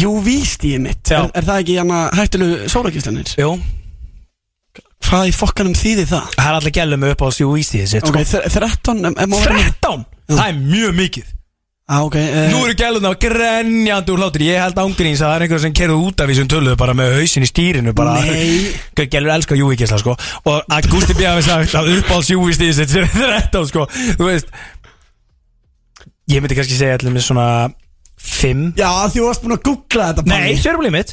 D: UV-stíðið mitt
B: Já.
D: er, er það ekki hérna hættulegu sólakistlanir?
B: Jú,
D: Hvað í fokkanum þýði það?
B: það er allir gælum með uppáhalds UV-stíðið sitt
D: Ok,
B: sko.
D: þre- 13 em- em- má vera með-
B: 13, það er mjög mikið
D: Á, ok, eh,
B: Nú eru gæluna á grenjandi úr hlátur Ég held ángríns að það er einhver sem kerðu út af því sem töluðu bara með hausin í stýrinu bara
D: Nei.
B: Gau- Gælur elska júvíkisla sko Og að Gústi B. hafi sagt að uppáhalds júvístíðis Þetta er þetta sko Þú veist Ég myndi kannski segja allir með svona 5
D: Já, því þú varst búin að googla þetta
B: Nei, sérfumlið mitt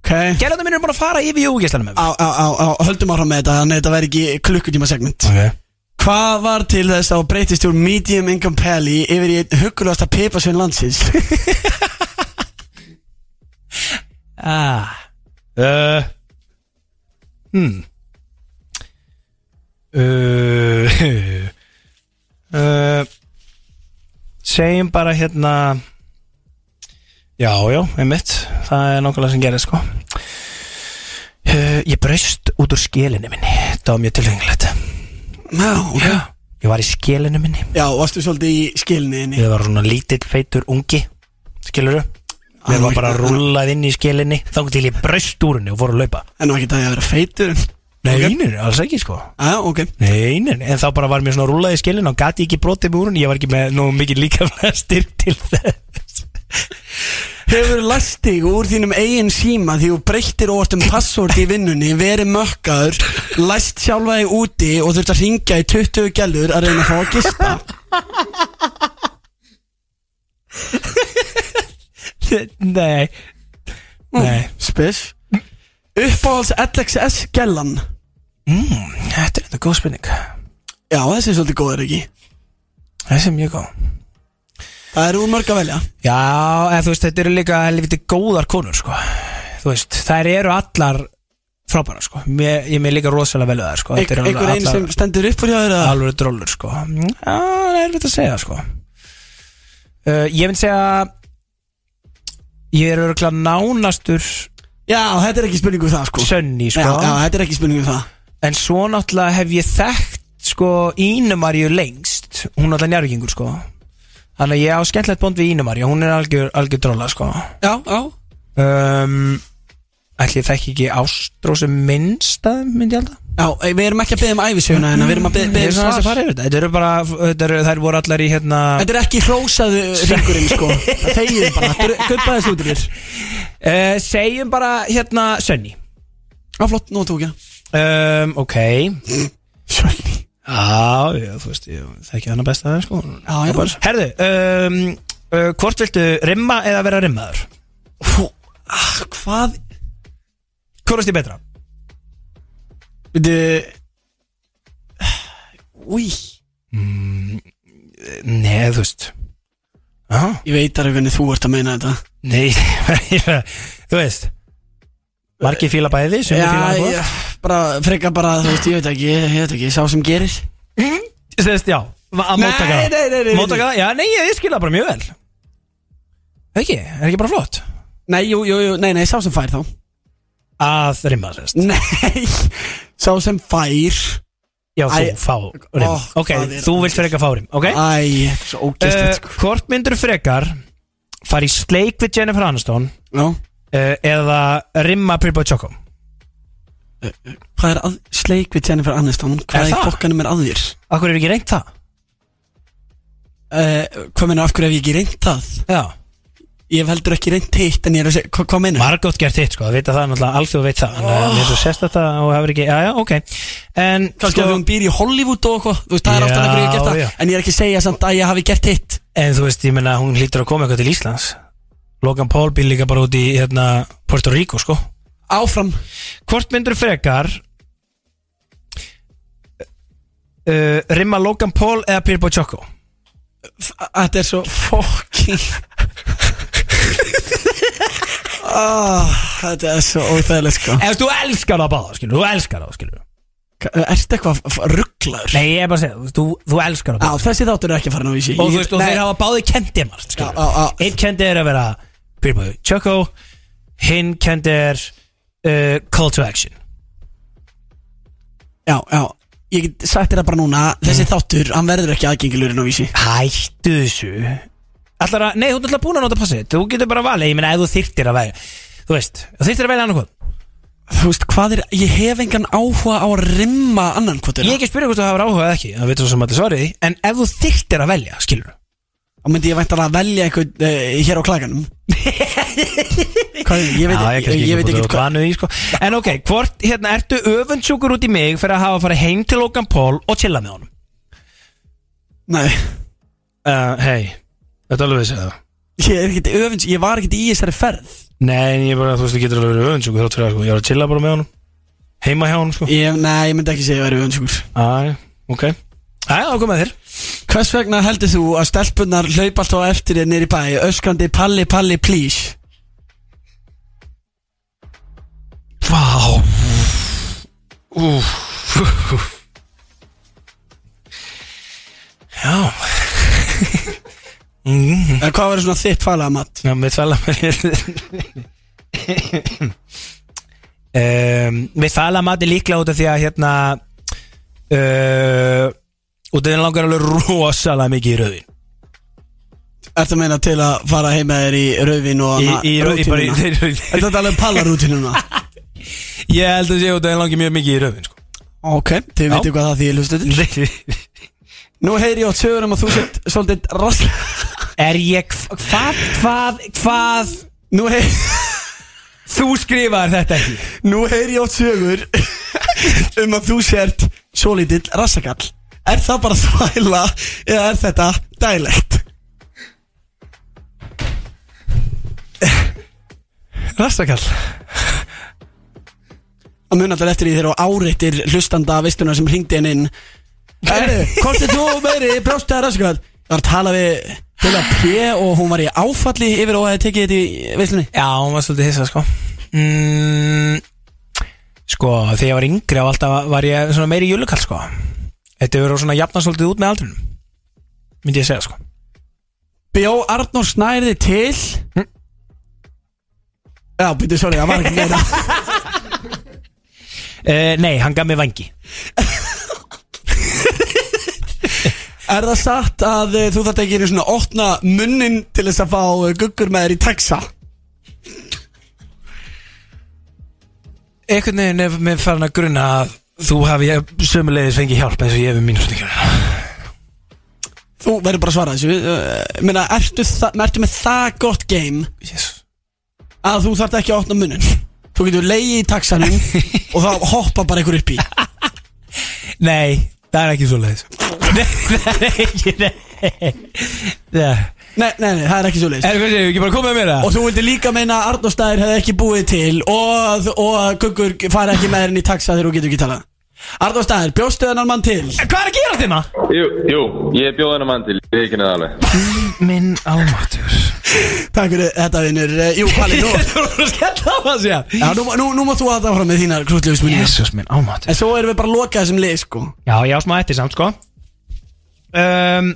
D: okay.
B: Gæluna minn er bara að fara yfir júvíkislanum með mér.
D: á, á, á, á, höldum áfram með þetta Þannig að þetta verði ekki klukkutíma segment
B: Ok.
D: Hvað var til þess að þú breytist úr medium income pally yfir í einn huggulasta pipasvein landsins?
B: Ah uh, Hmm uh, uh, Segjum bara hérna Já, já, einmitt Það er nokkulega sem gerir sko uh, Ég braust út úr skélinu minni Það var mjög tilfengilegt
D: Já, ok
B: Já Ég var í skélinu minni
D: Já, varstu svolítið í skilniðinni
B: Ég var svona lítill feitur ungi Skilurðu Mér var bara rúllað inn í skélinni Þá til ég braust úr henni og fór að laupa
D: En nú ekki það ég að vera feitur
B: Nei, nei, alls ekki sko
D: Já, ok
B: Nei, nei, nei, en þá bara var mér svona rúlaði skilin og gati ekki brotið með úrun, ég var ekki með nú mikið líka flestir til þess
D: Hefur læst þig úr þínum eigin síma því þú breyttir óvart um password í vinnunni verið mökkaður, læst sjálfa þig úti og þurft að ringja í 20 gælur að reyna að fá að gista
B: Nei, nei
D: Spes Uppáhalds LXS gælan
B: Þetta er þetta góð spurning
D: Já, þessi er svolítið góður ekki
B: Þessi er mjög góð
D: Það eru úr mörg að velja
B: Já, en þú veist, þetta eru líka helviti góðar konur sko Þú veist, þær eru allar frábæra sko mér, Ég er mér líka rosalega vel við þær sko Þetta eru
D: Einhver einn sem stendur upp úr hjá þér að
B: alveg drólur sko Já, það er erfitt að segja sko uh, Ég myndi segja Ég er örgulega nánastur
D: Já, þetta er ekki spurning um það sko
B: sönni sko
D: Já, já, þetta er ekki spurning um það
B: En svo náttúrulega hef ég þekkt sko Ínumarju lengst Hún er náttúrulega njárvíkingur sko Þannig að ég á skemmtilegt bónd við Ínumarju Hún er algjör, algjör dróla sko
D: Já, já
B: um, Ætli ég þekki ekki Ástrósi minnstað myndi ég alltaf
D: Já, eh, við erum ekki að beða um æfisöguna en við erum að beða
B: Ég er
D: beð
B: svona aðeins að
D: svar
B: fara yfir þetta Þetta eru bara, þetta eru, þær voru allar í hérna
D: Þetta er ekki hrósaðu ringurinn sko Þegið bara, guppa þessu út í þér
B: uh, Segjum bara hérna Sönni
D: Já, flott, nú tók ég
B: um, Ok
D: Sjölni
B: Já, já, þú veist, ég þekki hana besta sko.
D: Já, já, bara
B: Herðu, um, uh, hvort viltu rimma eða vera rimmaður?
D: Hú, ah, hvað
B: Hvort er betra?
D: Veitu Új,
B: Nei, þú veist Já,
D: ég veit alveg hvernig þú ert að meina þetta
B: nei, þú veist Margi fíla bæði, sem við fíla
D: Já,
B: bæði
D: já, bara, frekar bara, þú veist, ég veit ekki Ég, ég veit ekki, sá sem gerir
B: Sérst, já, að
D: Nei,
B: móttaka
D: nei, nei, nei, nei.
B: Móttaka, já, nei, ég skil það bara mjög vel Ekki, er ekki bara flott
D: Nei, jú, jú, jú, nei, nei, sá sem fær þá
B: Að rimma, sérst
D: Nei, sá sem fær
B: Já, þú
G: Æ,
B: fá rim
G: ó,
B: Ok,
G: það er
B: þú vilt frekar fá rim, ok?
D: Æ, þetta er svo ógeðslegt, sko.
B: uh, Hvort myndur frekar fara í sleik við Jennifer Aniston
D: Já uh,
B: Eða rimma Pripa Choco
D: Hvað er að sleik við Jennifer Aniston?
B: Er
D: Hvað er
B: það?
D: fokkanum er að þér?
B: Akkur er ekki reynt það?
D: Uh, hvað meina af hverju hef ég ekki reynt það?
B: Já
D: Ég hef heldur ekki reynt hitt en ég er að segja, hva, hvað meina?
B: Margot gert hitt sko, það vita það náttúrulega alþjóð veit það Þannig að
D: Oh.
B: mér svo sérst þetta og hefur ekki, já já, ok En
D: Kanski að hún býr í Hollywood og eitthvað Þú veist, það er
B: sko- Já,
D: aftan að hverju ég hef gert það
B: já.
D: En ég er ekki að segja samt að ég hafi gert hitt
B: En þú veist, ég menna, hún hlýtur að koma eitthvað til Íslands Logan Paul býr líka bara út í hérna, Puerto Rico, sko
D: Áfram
B: Hvort myndur frekar uh, Rimma Logan Paul eða Pirbo Choco
D: Þetta er svo fucking oh, Þetta er svo óþægilegt sko
B: Ef þú elskar það báða, skilur, þú elskar það, skilur
D: Ertu eitthvað f- rugglaður?
B: Nei, ég er bara að segja, þú, veist, þú, þú elskar það
D: Á, þessi þáttur er ekki að fara ná í sig
B: Og þú veist, og þeir hafa báði kendi margt,
D: Á,
B: skilur
D: á, á.
B: Einn kendi er að vera Pirbo Choco Hinn kendi er uh, Call to Action
D: Já, já Ég get sagt þér það bara núna
B: Mhm.
D: Þessi þáttur, hann verður ekki aðgengilur en á vísi
B: Hættu þessu Ætlar að, nei, þú ert alltaf búin að nota passið Þú getur bara valið, ég meina ef þú þyrtir að velja Þú veist, þú þyrtir að velja annað hvað
D: Þú veist, hvað er Ég hef engan áhuga á að rimma annan kvotur
B: Ég er ekki að spyrja hvort þú hafur áhuga eða ekki Það veitur þú sem allir svarið því, En ef þú þyrtir að velja, skilur
D: Þá myndi ég væntanlega að velja einhvern uh, hér á klaganum Hvað, ég veit, ég, ég, veit ekki hvað
B: hvað í, sko. En ok, hvort, hérna, ertu öfundsjúkur út í mig Fyrir að hafa að fara heim til Logan Paul Og chilla með honum
D: Nei,
B: uh, Hei, þetta alveg vissi það
D: ég er ekkert öfins Ég var ekkert í þessari ferð
B: Nei, en ég bara, þú veist, þú getur alveg verið öfundsjúkur Þáttur að, sko, ég var að chilla bara með honum Heima hjá honum, sko
D: ég, Nei, ég myndi ekki segja að vera öfinsjúkur
B: Æ, ok Æ, þá komið þér
D: Hvers vegna heldur þú að stelpunnar hlaupa alltaf á eftir þér niður í bæ Öskrandi palli palli please
B: Vá Úf Já mm.
D: Eða hvað verður svona þitt falaða mat?
B: Já, mitt fæla um, Mitt fæla mat er líklega út af því að hérna uh, Út af því að hann langar alveg rosalega mikið í rauðin
D: Ertu að meina til að fara heim með þér í rauvin og
B: Í, í,
D: hana-
B: rau- í, bara í, í
D: rútínuna?
B: rauðin
D: Ertu að tala um pallarútinuna?
B: Ég held að sé út af því að hann langar mjög mikið í rauðin sko.
D: ok, þið veitum hvað það því ég hlustu Nú heyri ég á sögur um að þú sett svolítið rast
B: Er ég, hvað, hvað, hvað
D: Nú heyri
B: Þú skrifaðir þetta ekki
D: Nú heyr ég átt sögur um að þú sért svo lítill rassakall Er það bara þvæla eða er þetta dælegt?
B: Rastakall
D: Það mun alltaf eftir því þegar á áreittir hlustanda vistuna sem hringdi henn inn Herru, hvort er þú meiri brjóstaði rassakall? Það var að tala við til að P og hún var í áfalli yfir og hefði tekið þetta í visslunni
B: Já, hún var svolítið hissa sko mm, Sko, þegar ég var yngri á alltaf var ég svona meiri júlukall sko Þetta verður svona jafna svolítið út með aldrinum Myndi ég segja sko
D: Bjó Arnór snærði til Já, býttu, sorry, það var ekki meira
B: uh, Nei, hann gaf mér vangi
D: Er það satt að eh, þú þarft ekki einu svona opna munnin til þess að fá eh, guggur með þér í taxa?
B: Einhvern veginn er mér farin að gruna að þú hafi sömulegis fengið hjálp eins og ég hefur mínu sníkjur
D: Þú verður bara að svara þessu eh, Meina, ertu, þa- ertu með það gott game
B: Jésus
D: að þú þarft ekki að opna munnin? Þú getur leiði í taxanum og þá hoppa bara einhver upp í
B: Nei, það er ekki svoleiðis Nei, það er ekki, nei Það
D: Nei, nei, nei, það er ekki svo leist
B: Er hvað séu, ekki bara komið með mér það?
D: Og þú vildi líka meina að Arnóstæðir hefði ekki búið til og, og að guggur fara ekki með þér inn í taxa þegar þú getur ekki talað Arnóstæðir, bjóstu þennan mann til?
B: Hvað er að gera þérna?
N: Jú, jú, ég bjóð hennar mann til, ég ekki neða alveg
B: Minn ámáttur
D: Takk fyrir þetta, vinnur Jú, Palli, nú
B: Þú voru að skella á það sér
D: Já, nú, nú, nú maður þú aðra fram með þínar krútleifismunni
B: Jésús minn ámáttur
D: En svo erum við bara að loka þessum lið, sko
B: Já, ég á smá eftir samt sko um,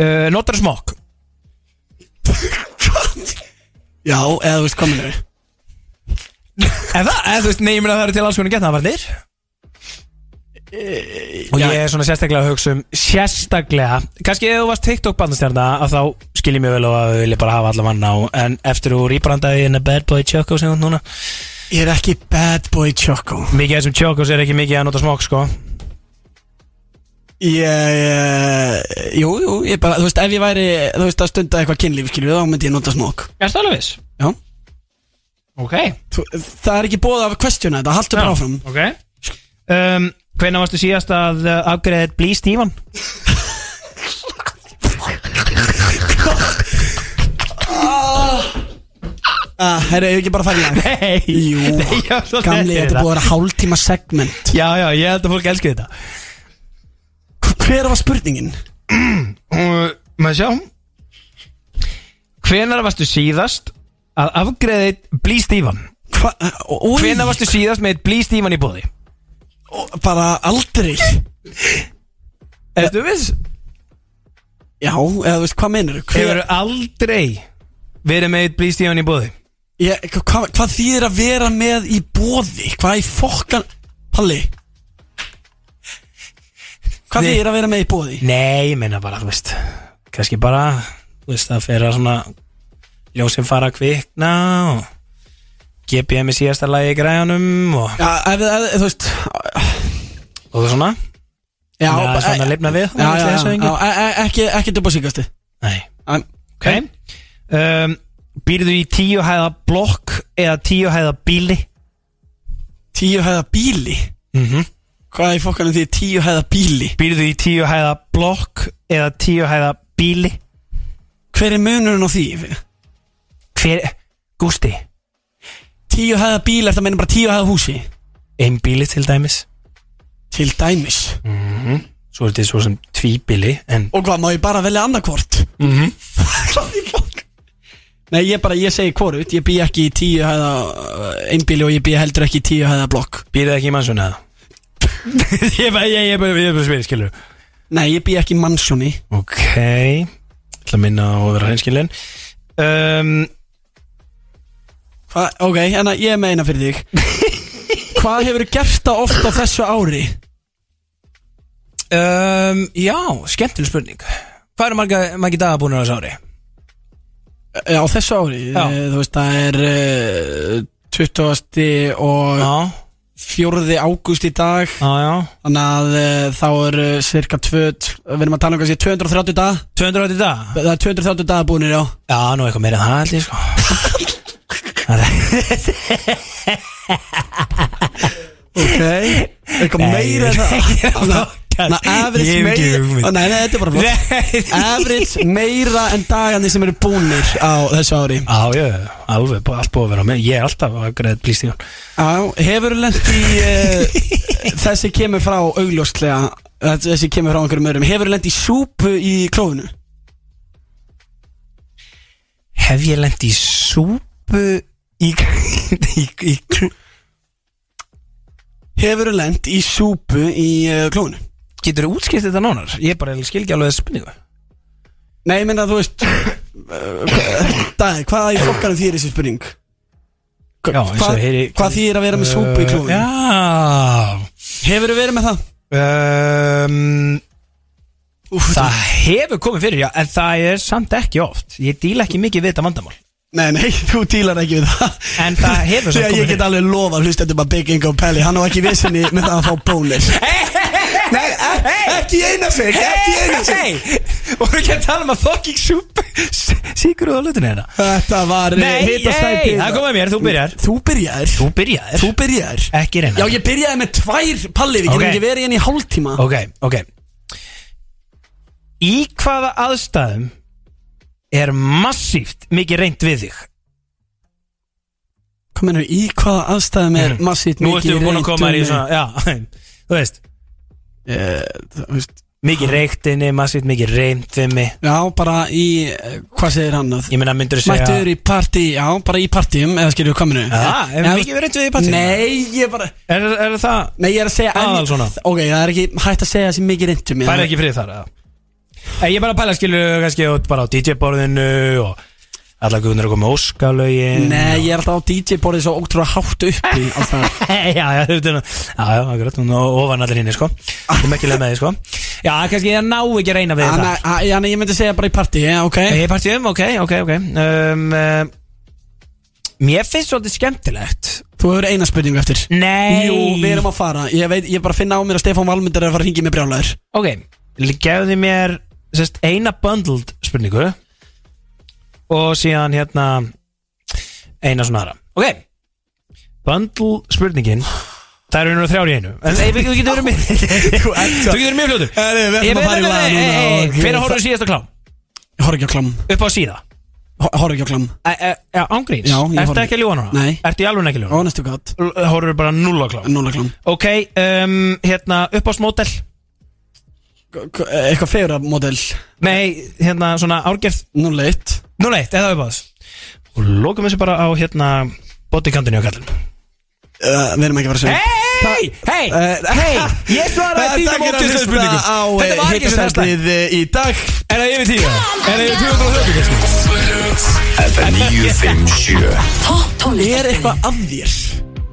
B: uh, Notar smokk
D: Já, eða þú veist hvað minnur
B: Eh, En það, eða þú veist, nei, ég meina það eru til alls konar getnaðvarnir Og ég er svona sérstaklega að hugsa um Sérstaklega Kannski ef þú varst TikTok bandastjarna að Þá skil ég mjög vel og að við vilja bara hafa alla manna á En eftir þú rýbrandaði hérna Bad Boy Choco sem þú ert núna
D: Ég er ekki bad boy choco
B: Mikið af þessum Chocos er ekki mikið að nota smók sko
D: Ég, eh, jú, jú, ég bara, þú veist, ef ég væri, þú veist, að stunda eitthvað kynlíf, skilur við, þá myndi ég nota smók
B: Er það alveg viss?
D: Já
B: Ok
D: þú, Það er ekki bóð af questiona þetta, haldur bara áfram
B: Ok um, Hvenær varstu síðast að uh, afgreðið blí Stífan?
D: Ah, Herra, ég ekki bara farið í lag
B: Nei
D: Jú,
B: Nei, ég var svo hræddur
D: gamli,
B: við
D: þetta er
B: það.
D: búið að vera hálftíma segment
B: Já, já, ég held að fólk elski þetta
D: Hver var spurningin?
B: Og maður sjá Hvenær varstu síðast að afgreða eitt blístífan?
D: eh,
B: Hvenær varstu síðast með eitt blístífan í bóði?
D: Bara aldrei
B: Ertu viss?
D: Já, eða þú veist, hvað meinar þú?
B: Hefur aldrei verið með eitt blístífan í bóði?
D: Hvað hva þýðir að vera með í bóði? Hvað í fokkan Palli Hvað
B: Nei.
D: þýðir að vera með í bóði?
B: Nei, ég meina bara, þú veist kannski bara, þú veist, að fyrir að svona ljósin fara að kvikna og GPM í síðasta lagi í græjanum og,
D: Já, ef, ef, ef þú veist
B: og það svona
D: Já,
B: Þannig að það er svona
D: e-
B: að lifna við,
D: Já,
B: ætli
D: já,
B: þessu
D: já,
B: engu.
D: já e- e- ekki, ekki dubba síkasti
B: Nei
D: um,
B: Ok um, Býrðu í tíu hæða blokk eða tíu hæða bíli?
D: Tíu hæða bíli?
B: Mm -hmm.
D: Hvað í fokkanum því tíu hæða bíli?
B: Býrðu í tíu hæða blokk eða tíu hæða bíli?
D: Hver er munurinn á því?
B: Hver, Gústi,
D: Tíu hæða bíli, eftir að meina bara tíu hæða húsi
B: ein bíli til dæmis
D: Til dæmis
B: Svo er þetta svo sem tvíbíli en
D: Og hvað, má ég bara velja annarkvort?
B: mm -hmm.
D: Nei, ég bara, ég segi hvorut, ég bý ekki í tíu hæða einbíli og ég bý heldur ekki í tíu hæða blokk
B: Býrðu ekki í mannsuna eða? ég bara, ég, ég, bara- ég, bara spyr, skilur
D: Nei, ég bý ekki í mansjóni
B: Ok ætla að minna á að vera hreinskilin um,
D: Hva, Ok, en að ég er með eina fyrir þig Hvað hefur gert það oft á þessu ári?
B: um, Já, skemmtileg spurning Hvað eru marga, margi dagar búin á þessu ári?
D: Eh, Á þessu ári,
B: Já.
D: Eh, þú veist, það er eh, 20. og
B: Já,
D: 4. ágúst í dag
B: já, já
D: Þannig að eh, þá er eh, cirka 2, við erum að tala um kannski 230 dag
B: 280 dagar?
D: Það er 230 dag búinir, já
B: Já, nú eitthvað meira en það held ég sko
D: Ok, eitthvað meira en það Na, average meira Ó, Nei, nei, þetta er bara flott Average meira en dagandi sem eru búnir á þessu ári
B: Já, já, alveg, bú- allt búið að vera með Ég er alltaf að greið blístíðan
D: Já, hefur lent í uh, Þessi kemur frá augljóslega eh, Þessi kemur frá einhverjum öðrum Hefur lent í súpu í klófinu
B: Hef ég lent í súpu í, í, í, í
D: Hefur lent í súpu í uh, klófinu
B: Getur þú útskipt þetta nánar? Ég bara skil ekki alveg þessu spurningu
D: Nei, ég meina þú veist Dæði, hvað í fokkanum þýr þessi spurning?
B: Já, eins og
D: Hvað,
B: heyri- Eh,
D: hvað þýr að vera með súpu í klófinu?
B: Já
D: Hefur verið með það? Ehm,
B: um,
D: Úf,
B: Það hefur komið fyrir, já En það er samt ekki oft Ég díla ekki mikið við þetta vandamál
D: Nei, nei, þú dílar ekki við það
B: En það hefur samt
D: Því að
B: komið
D: ég get alveg lofa hlustendum að Big Ingo Pelli Hann á ekki vissinni með það að fá bónus Nei, e- ekki í eina sig Ekki í eina sig
B: Hei, voru ekki að tala um að fucking soup Sigur þú á hlutinu hérna?
D: Þetta var
B: Nei,
D: hitastæti
B: nei, það kom að mér, þú byrjar
D: Þú byrjar
B: Þú byrjaðir
D: Þú byrjar
B: Ekki reyna
D: Já, ég byrjaði með tvær pallir Við getum
B: Ok.
D: ekki verið hérna í hálftíma
B: Ok, ok Í hvaða aðstæðum er massíft mikið reynd við þig?
D: Hvað mennur, í hvaða aðstæðum er massít
B: Mhm. Mm. Nú
D: mikið
B: ertu búin að
D: reynt
B: koma þér í
D: um-
B: svona Já, þú veist
D: Eh, þú veist,
B: Mikið reyktinni, massíft mikið reynd við mig
D: Já, bara í eh, Hvað segir hann að
B: Ég meina, myndur þú segja
D: Mættur í partí, já, bara í partíum Eða skilur hvað mennur
B: Já, er Ah, mikið reynd við þig í partíum?
D: Nei, ég bara
B: Er, er það,
D: Nei, ég er að segja
B: Aðal svona.
D: Ok, það er ekki hægt að segja þessi mikið um reyndum
B: það er ekki fyrir þar eða? Eh, Ég bara pæla skilur kannski út bara á DJ-borðinu og Alla guðunar að koma óskalögin
D: Nei, ég er alltaf á DJ-borðið svo ótrúlega hátt uppi alls það
B: já, já, þú veit hérna Já, já, akkurat, hún er ofan allir hinn, sko Þú mekkilega með því, sko Já, kannski ég ná ekki að reyna við þetta
D: Þannig að þannig að ég myndi segja bara í partí, já, ok
B: Ég er partíum, ok, ok, ok um, uh, Mér finnst svolítið skemmtilegt
D: Þú hefur eina spurningu eftir
B: Nei
D: Jú, við erum að fara Ég veit, ég bara finna á mér að Stefán Valmund er að fara að ringi með brjálæður
B: Ok, gefðu þið mér sest, eina bundled spurningu og síðan hérna eina svona aðra Ok, bundle spurningin Það eru einhverjum þrjár í einu En ey, við við getum verið mér Þú getur verið mjög fljótur
D: Nei, nei, Eh, við ætlum
B: Ég
D: að
B: veit- eh,
D: fara í
B: nei,
D: lag
B: nei,
D: núna
B: nei, nei,
D: og-
B: Hvenær horfum síðast á klám?
D: Ég horf ekki á klamm
B: Upp á síða
D: Horf ekki á klamm
B: Æ, æ, Já, ángríns
D: Já, ég
B: Ertu
D: horfði.
B: ekki að ljúa núna?
D: Nei.
B: Ertu í alveg ekki að ljúa?
D: Honest to God
B: Horfum bara null á klám
D: Núna klamm
B: Ok, um, hérna, upp á smótel
D: Eitthvað fegra model
B: Nei, hérna, svona árgerð
D: Núna leitt
B: Núna eitt, eða upp á þess Og lokum þessu bara á, hérna, bodycountinu á kallinu
D: Uh, Við erum ekki að fara að segja
B: Hei, hei, hei Eh, Ég svaraði þínum
D: Þetta er að
B: ógeðslega
D: hlusta
B: spurningum.
D: á
B: Þetta var ekki svona slæmt.
D: hittasætið í dag
B: Er það yfir tíu? Er það yfir tíu og hlöku kannski?
O: FM 957
D: Er eitthvað af þér?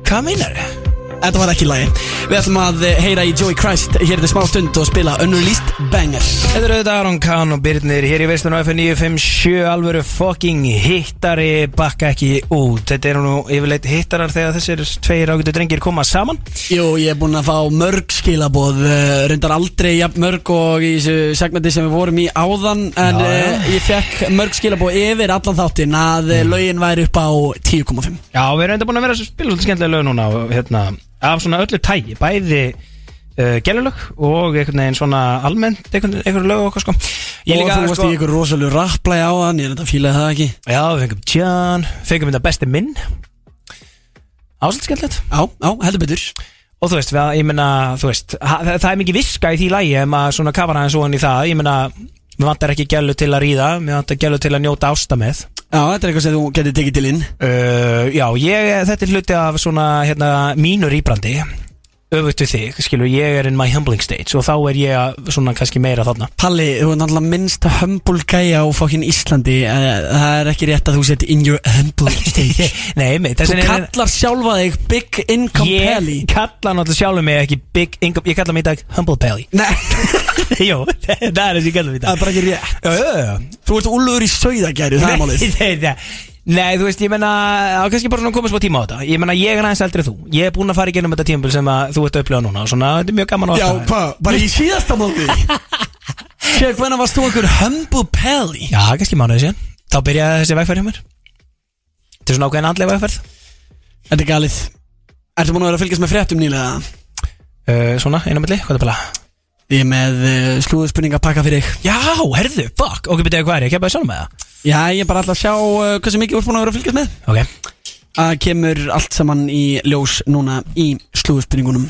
B: Hvað meinar þið?
D: Þetta var ekki lagi Við ætlum að eh, heyra í Joey Christ Hér er þetta smá stund og spila Unreleased Banger
B: Þetta er auðvitað Aron Kahn og Birnir hér í veistunum F957 alvöru fucking hittari bakka ekki út Þetta eru nú yfirleitt hittarar þegar þessir tveir ágætu drengir koma saman
D: Jú, ég er búinn að fá mörg skilaboð uh, Rundar aldrei jafn mörg og í þessu segmenti sem við vorum í áðan En
B: Já,
D: já,
B: já.
D: ég fekk mörg skilaboð yfir allan þáttinn Að mm. lögin væri upp á 10,5
B: Já, við erum enda búin að vera að spila svolítið skemmtilega lög núna og, hérna, af svona öllu tægi, bæði uh, gælulög og einhvern veginn svona almennt einhvern, einhvern lög og okkar sko Ég
D: Og
B: líka,
D: þú varst
B: sko-
D: í ykkur rosalegu rapplæg áðan Ég er þetta að fílaði það ekki
B: Já, við fengum Tján, fengum þetta besti minn Ásvöld skemmtilegt
D: Já, já, heldur betur
B: Og þú veist, við- ég meina, þú veist ha- það, það er mikið viska í því lægi ef maður svona kafar aðeins ofan í það Ég meina, mér vantar ekki gælu til að ríða Mér vantar gælu til að njóta ásta með
D: Já, þetta er eitthvað sem þú getur tekið til inn
B: uh, Já, ég, þetta er hluti af svona, hérna, mínur íbrandi Öfugt við þig, skilur, ég er in my humbling stage Og þá er ég að- svona kannski meira þarna
D: Palli, þú er náttúrulega minnsta humble gæja á fokkin Íslandi eh, Það er ekki rétt að þú sett in your humble state
B: Nei, mei,
D: Þú
B: þessi
D: kallar sjálfa þig Big Income Pally
B: Ég kalla náttúrulega sjálfur mig ekki Big Income Ég kalla mig í dag Humble Pally
D: Nei
B: Jó, það er það sem ég kalla mig í
D: Það
B: dag
D: er bara ekki rétt
B: Já, já, já
D: Þú ert úlfur í sauðagæru, það er málið
B: Nei, nei, nei. Nei, þú veist, ég menna, það er kannski bara svona komast á tíma á þetta Ég menna, ég er aðeins eldri en þú Ég er búinn að fara í gennum þetta tímabil sem að þú ert að upplifa núna og Svona, þetta er mjög gaman á
D: Já, hvað, bara í síðasta móti Sér, hvenær varst þú einhver humble Pally?
B: Já, kannski mánuði síðan Þá byrjaði þessi vegferð hjá mér Þetta er svona ákveðin andlega vegferð
D: Þetta er galið Ertu búin að vera að fylgjast með fréttum nýlega?
B: uh, Svona, einu milli, hvað er bara
D: Ég er með uh, slúðspurning að pakka fyrir þig
B: Já, herðu, fuck, ok, byrjaði hvað er ég, kemur sjálf með það
D: Já, ég er bara alltaf að sjá uh, hversu mikið þú ert búin að vera að fylgjast með
B: Ok,
D: að kemur allt saman í ljós núna í slúðspurningunum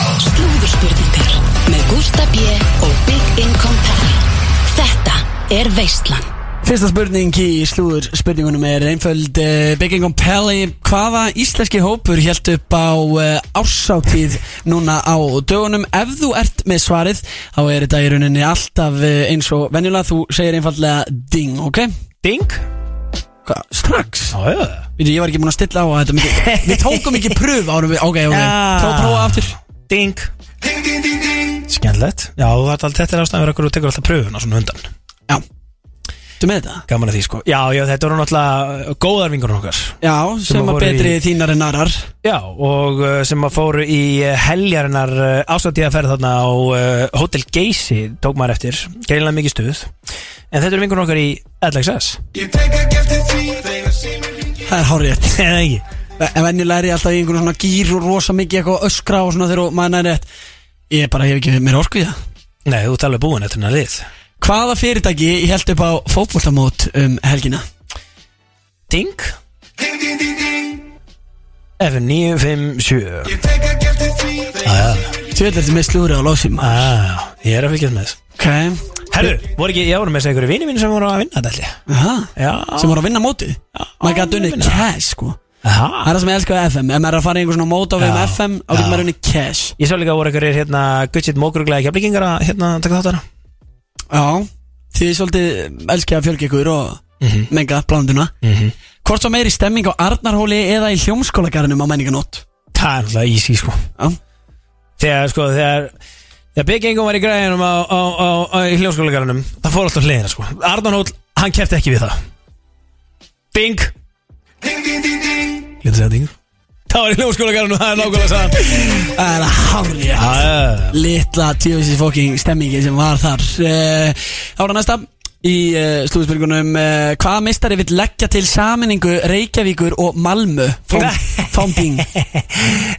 E: Slúðurspurningar með Gústa B. og Big Income Pally. Þetta er Veistland.
D: Fyrsta spurning í slúðurspurningunum er einföld uh, Bygging on Pally Hvaða íslenski hópur held upp á uh, ársáttíð núna á dögunum Ef þú ert með svarið þá er þetta í rauninni alltaf uh, eins og venjulega þú segir einfallega ding, ok?
B: ding
D: Hva? Strax?
B: Já, já
D: Við, ég var ekki búin að stilla á að þetta mikið Við tókum ekki pröf árum við, ok, ok
B: Já.
D: Prófa, prófa aftur
B: Ding
M: Ding, ding, ding, ding.
B: Skemmtilegt Já, þú þarft alveg- þetta er ástæðan fyrir okkur og tekur alltaf pröfuna svona á undan
D: Já, þú með þetta?
B: Gaman að því, sko Já, já, þetta voru náttúrulega góðar vingur okkar
D: Já,
B: Sem að
D: sem að
B: voru í-
D: betri þínar en aðrar
B: Já, og uh, sem að fóru í uh, heljarinnar uh, ásáttíðaferð þarna á uh, Hotel Geysi tók maður eftir, gælinlega mikið stuð en þetta eru vingur okkar í LXS
M: Ég tek ekki eftir því þegar síminn hringir.
D: Það er hárið
B: eða ekki
D: En venjulega er ég alltaf í einhvern svona gýr og rosa mikið eitthvað öskra og svona þegar maður næri rétt Ég bara hef ekki mér orku í það
B: Nei, þú ert alveg búin eftir hennar lið
D: Hvaða fyrirtæki ég held upp á fótboltamót um helgina?
B: Ding,
M: Ding, ding, ding, ding.
B: F957
M: Ég tek ekki eftir því þegar
B: Jæja.
D: Tjöld er þetta með slúri á lósum
B: ah, Ég er að fylgjast með þess
D: Ok
B: Herru, voru ekki, ég voru með þess að einhverju vini mínu sem voru að vinna þetta allir
D: Aha.
B: Já,
D: Sem voru að vinna mótið Maður gæti unnið
B: vinna.
D: cash sko
B: Aha.
D: Það er það sem ég elska á FM Ef maður er að fara í einhver svona mót á við um
B: Já.
D: FM Þá getur maður unnið cash
B: Ég sá líka að voru einhverjir hérna Gutsitt mókruglega keflingingar að hérna taka þáttara
D: Já Því ég svolítið elski að fjölga ykkur og menga blanduna
B: Mhm.
D: Hvort var meiri stemming á Arnarhóli eða í hljómskólagarnum á menninganót?
B: Það er alltaf ísí sko
D: Já
B: Þegar sko þegar Þegar byggingum var í græðinum á, á, á, á í hljómskólagarunum Það fór alltaf hliðina sko Arnón Hóll, hann kefti ekki við það Ding
M: Ding, ding, ding, ding.
B: Lítið segja ding Það var í hljómskólagarunum, það er nákvæmlega sann
D: Það er hárið Litla tjóðsins fóking stemmingi sem var þar Eh, Þá er það næsta Í uh, slúðspurgunum uh, Hvaða meistari vill leggja til saminningu Reykjavíkur og Malmö Fónding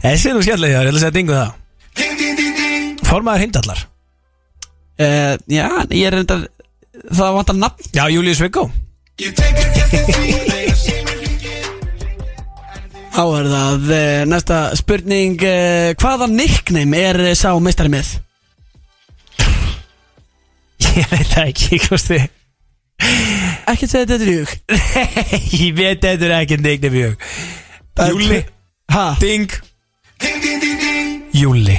B: Þessi er nú skemmtilega, ég ætla að segja dingu það
M: Ding, ding, ding, ding.
B: Formaður hindallar
D: uh, Já, ég er reyndar Það vantar nafn
B: Já, Július Viggo
M: You take a gift and see you later.
D: Þá er það uh, næsta spurning uh, Hvaða nickname er eh, sá meistari með?
B: Ég veit það ekki, kosti
D: Ekkert segja þetta er júk
B: Nei, ég veit þetta er ekki dingnum jög Júli
D: Ha?
B: Ding
M: Ding, ding, ding, ding.
B: Júli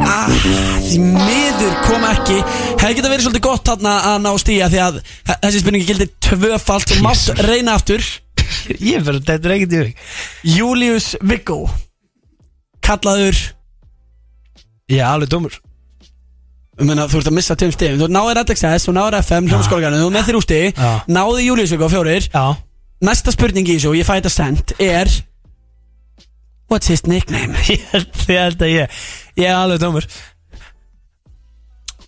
D: Ah, því miður kom ekki Hefði geta verið svolítið gott þarna að ná stíja Því að þessi spurningi gildir tvöfalt Þú mátt reyna aftur
B: Ég verður þetta er ekki jög
D: Július Viggo Kallaður
B: Ég er alveg dómur
D: Ég meina, Þú ert að missa tveim stíðum Þú náðir LXS, þú náðir FM, hljómskólagarnu Þú er með þér úr stíði
B: Já.
D: Náði Július Viggo á fjórir
B: Já.
D: Næsta spurning í þessu, og ég fæ þetta sent Er What's his nickname?
B: Ég held- ég held að ég Ég er alveg dómur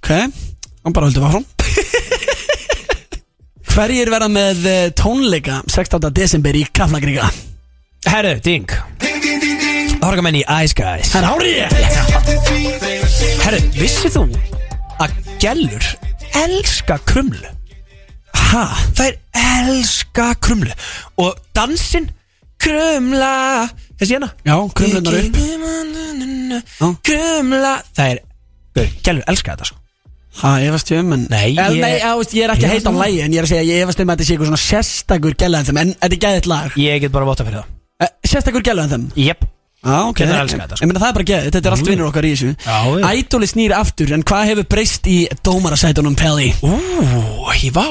D: Ok, hann bara höldum áfram Hverjir verða með eh, tónleika 16. desember í Kaflagriga?
B: Herru, ding
M: Ding, ding, ding, ding.
B: Horgamenn í Ice Guys
D: Það er hárið ég
M: Take a gift and see you later.
B: Herru, vissið þú að gellur elska krumlu?
D: Ha?
B: Þær elska krumlu Og dansinn krumla Þessi hérna
D: Já, krumlunar upp Já.
B: upp Krumla Það er, gellur elska þetta sko
D: Ha, ég veist um en
B: Nei,
D: ég
B: ég-
D: Nei, á, veist, ég um er ekki að heita á lægi En ég er að segja, ég veist um að þetta sé eitthvað svona sérstakur gælaðan þeim En þetta er gæðið lag
B: Ég get bara votta fyrir það
D: Eh, Sérstakur gælaðan þeim
B: Jep
D: Já, ok
B: Getur elskað þetta, sko.
D: Ég meina, það er bara gæðið Þetta er allt vinnur okkar í þessu
B: Já, já.
D: Ædóli snýr aftur En hvað hefur breyst í dómarasætunum Pelli?
B: Ú, ég vá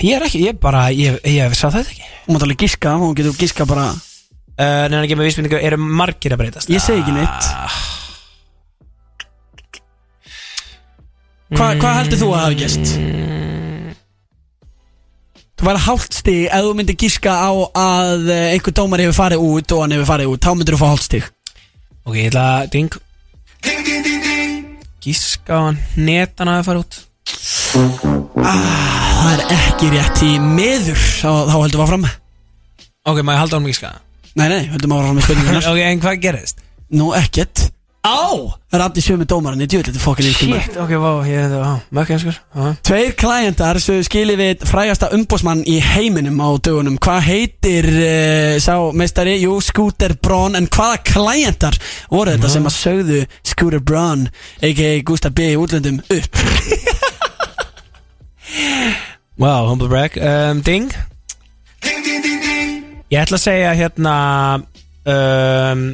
B: Ég er ekki, ég bara, ég, ég sá þetta ekki
D: Hún mátt alveg giska Hún getur giska bara
B: uh, Neina ekki með vísmyndingu eru margir að breytast
D: Ég segi ekki neitt Hva, Hvað heldur þú að hafa gæst? Þú væri hálft stig ef þú myndir giska á að eh, einhver dómar hefur farið út og hann hefur farið út, þá myndir þú fá hálft stig
B: Ok, ég ætla að ding
M: Ding, ding, ding, ding.
B: Gíska á hann, netan að það fara út
D: Það er ekki rétt í miður þá, þá höldum við áfram Nei,
B: Ok, maður halda hann með gíska
D: nei, höldum áfram með spurningunar
B: Ok, en hvað gerðist?
D: Nú, ekkert
B: Á!
D: Það er allir sjöfum með dómarinn, ég djöðlega þetta fokkin ykkur
B: Shit, ok, vá, ég er þetta, á, mökk einskur
D: Tveir klæjendar sem skilir við frægasta umbósmann í heiminum á dögunum Hvað heitir uh, sá meistari? Jú, Scooter Braun En hvaða klæjendar voru þetta sem að sögðu Scooter Braun a.k.a. Gustaf B. í útlöndum upp?
B: Wow, humble brag um, Ding
M: Ding, ding, ding, ding.
B: Ég ætla að segja hérna um,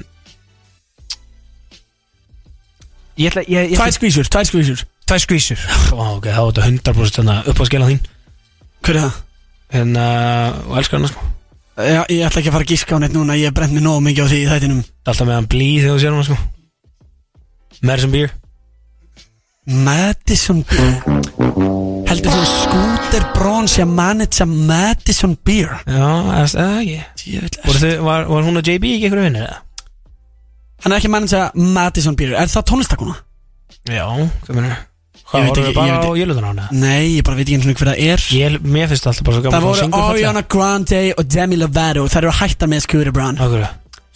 B: Ég ætla, ég, ég
D: Tvær skvísur, tvær skvísur
B: tvær skvísur Vá, ok, þá er þetta 100% hérna upp á skila þín
D: Hver er það?
B: Hérna, og elskar hana sko
D: Já, ég ætla ekki að fara að gíska á neitt núna, ég brent mér nóg mikið á því í þættinum
B: Það er alltaf meðan blí þegar þú sér hana sko Madison Beer
D: Madison Beer Heldur þú að Scooter Braun sé að manage að Madison Beer?
B: Já, eða eða ekki
D: Djöfull,
B: Voru þau, var, var hún og JB ekki einhverju vinnir eða?
D: Hann er ekki að manage að Madison Beer Er það tónlistakona?
B: Já, hvað minnur? Hvað
D: Ég veit
B: voru
D: ekki,
B: þau
D: ég
B: bara
D: veit
B: á
D: ekki.
B: jölutan á hana?
D: Nei, ég bara veit ekki eins og hver það er
B: Ég, mér finnst það alltaf bara svo gaman
D: Það
B: að
D: voru
B: syngur fallega.
D: Ariana Grande og Demi Lovato Það eru hættar með Scooter Braun
B: Af hverju?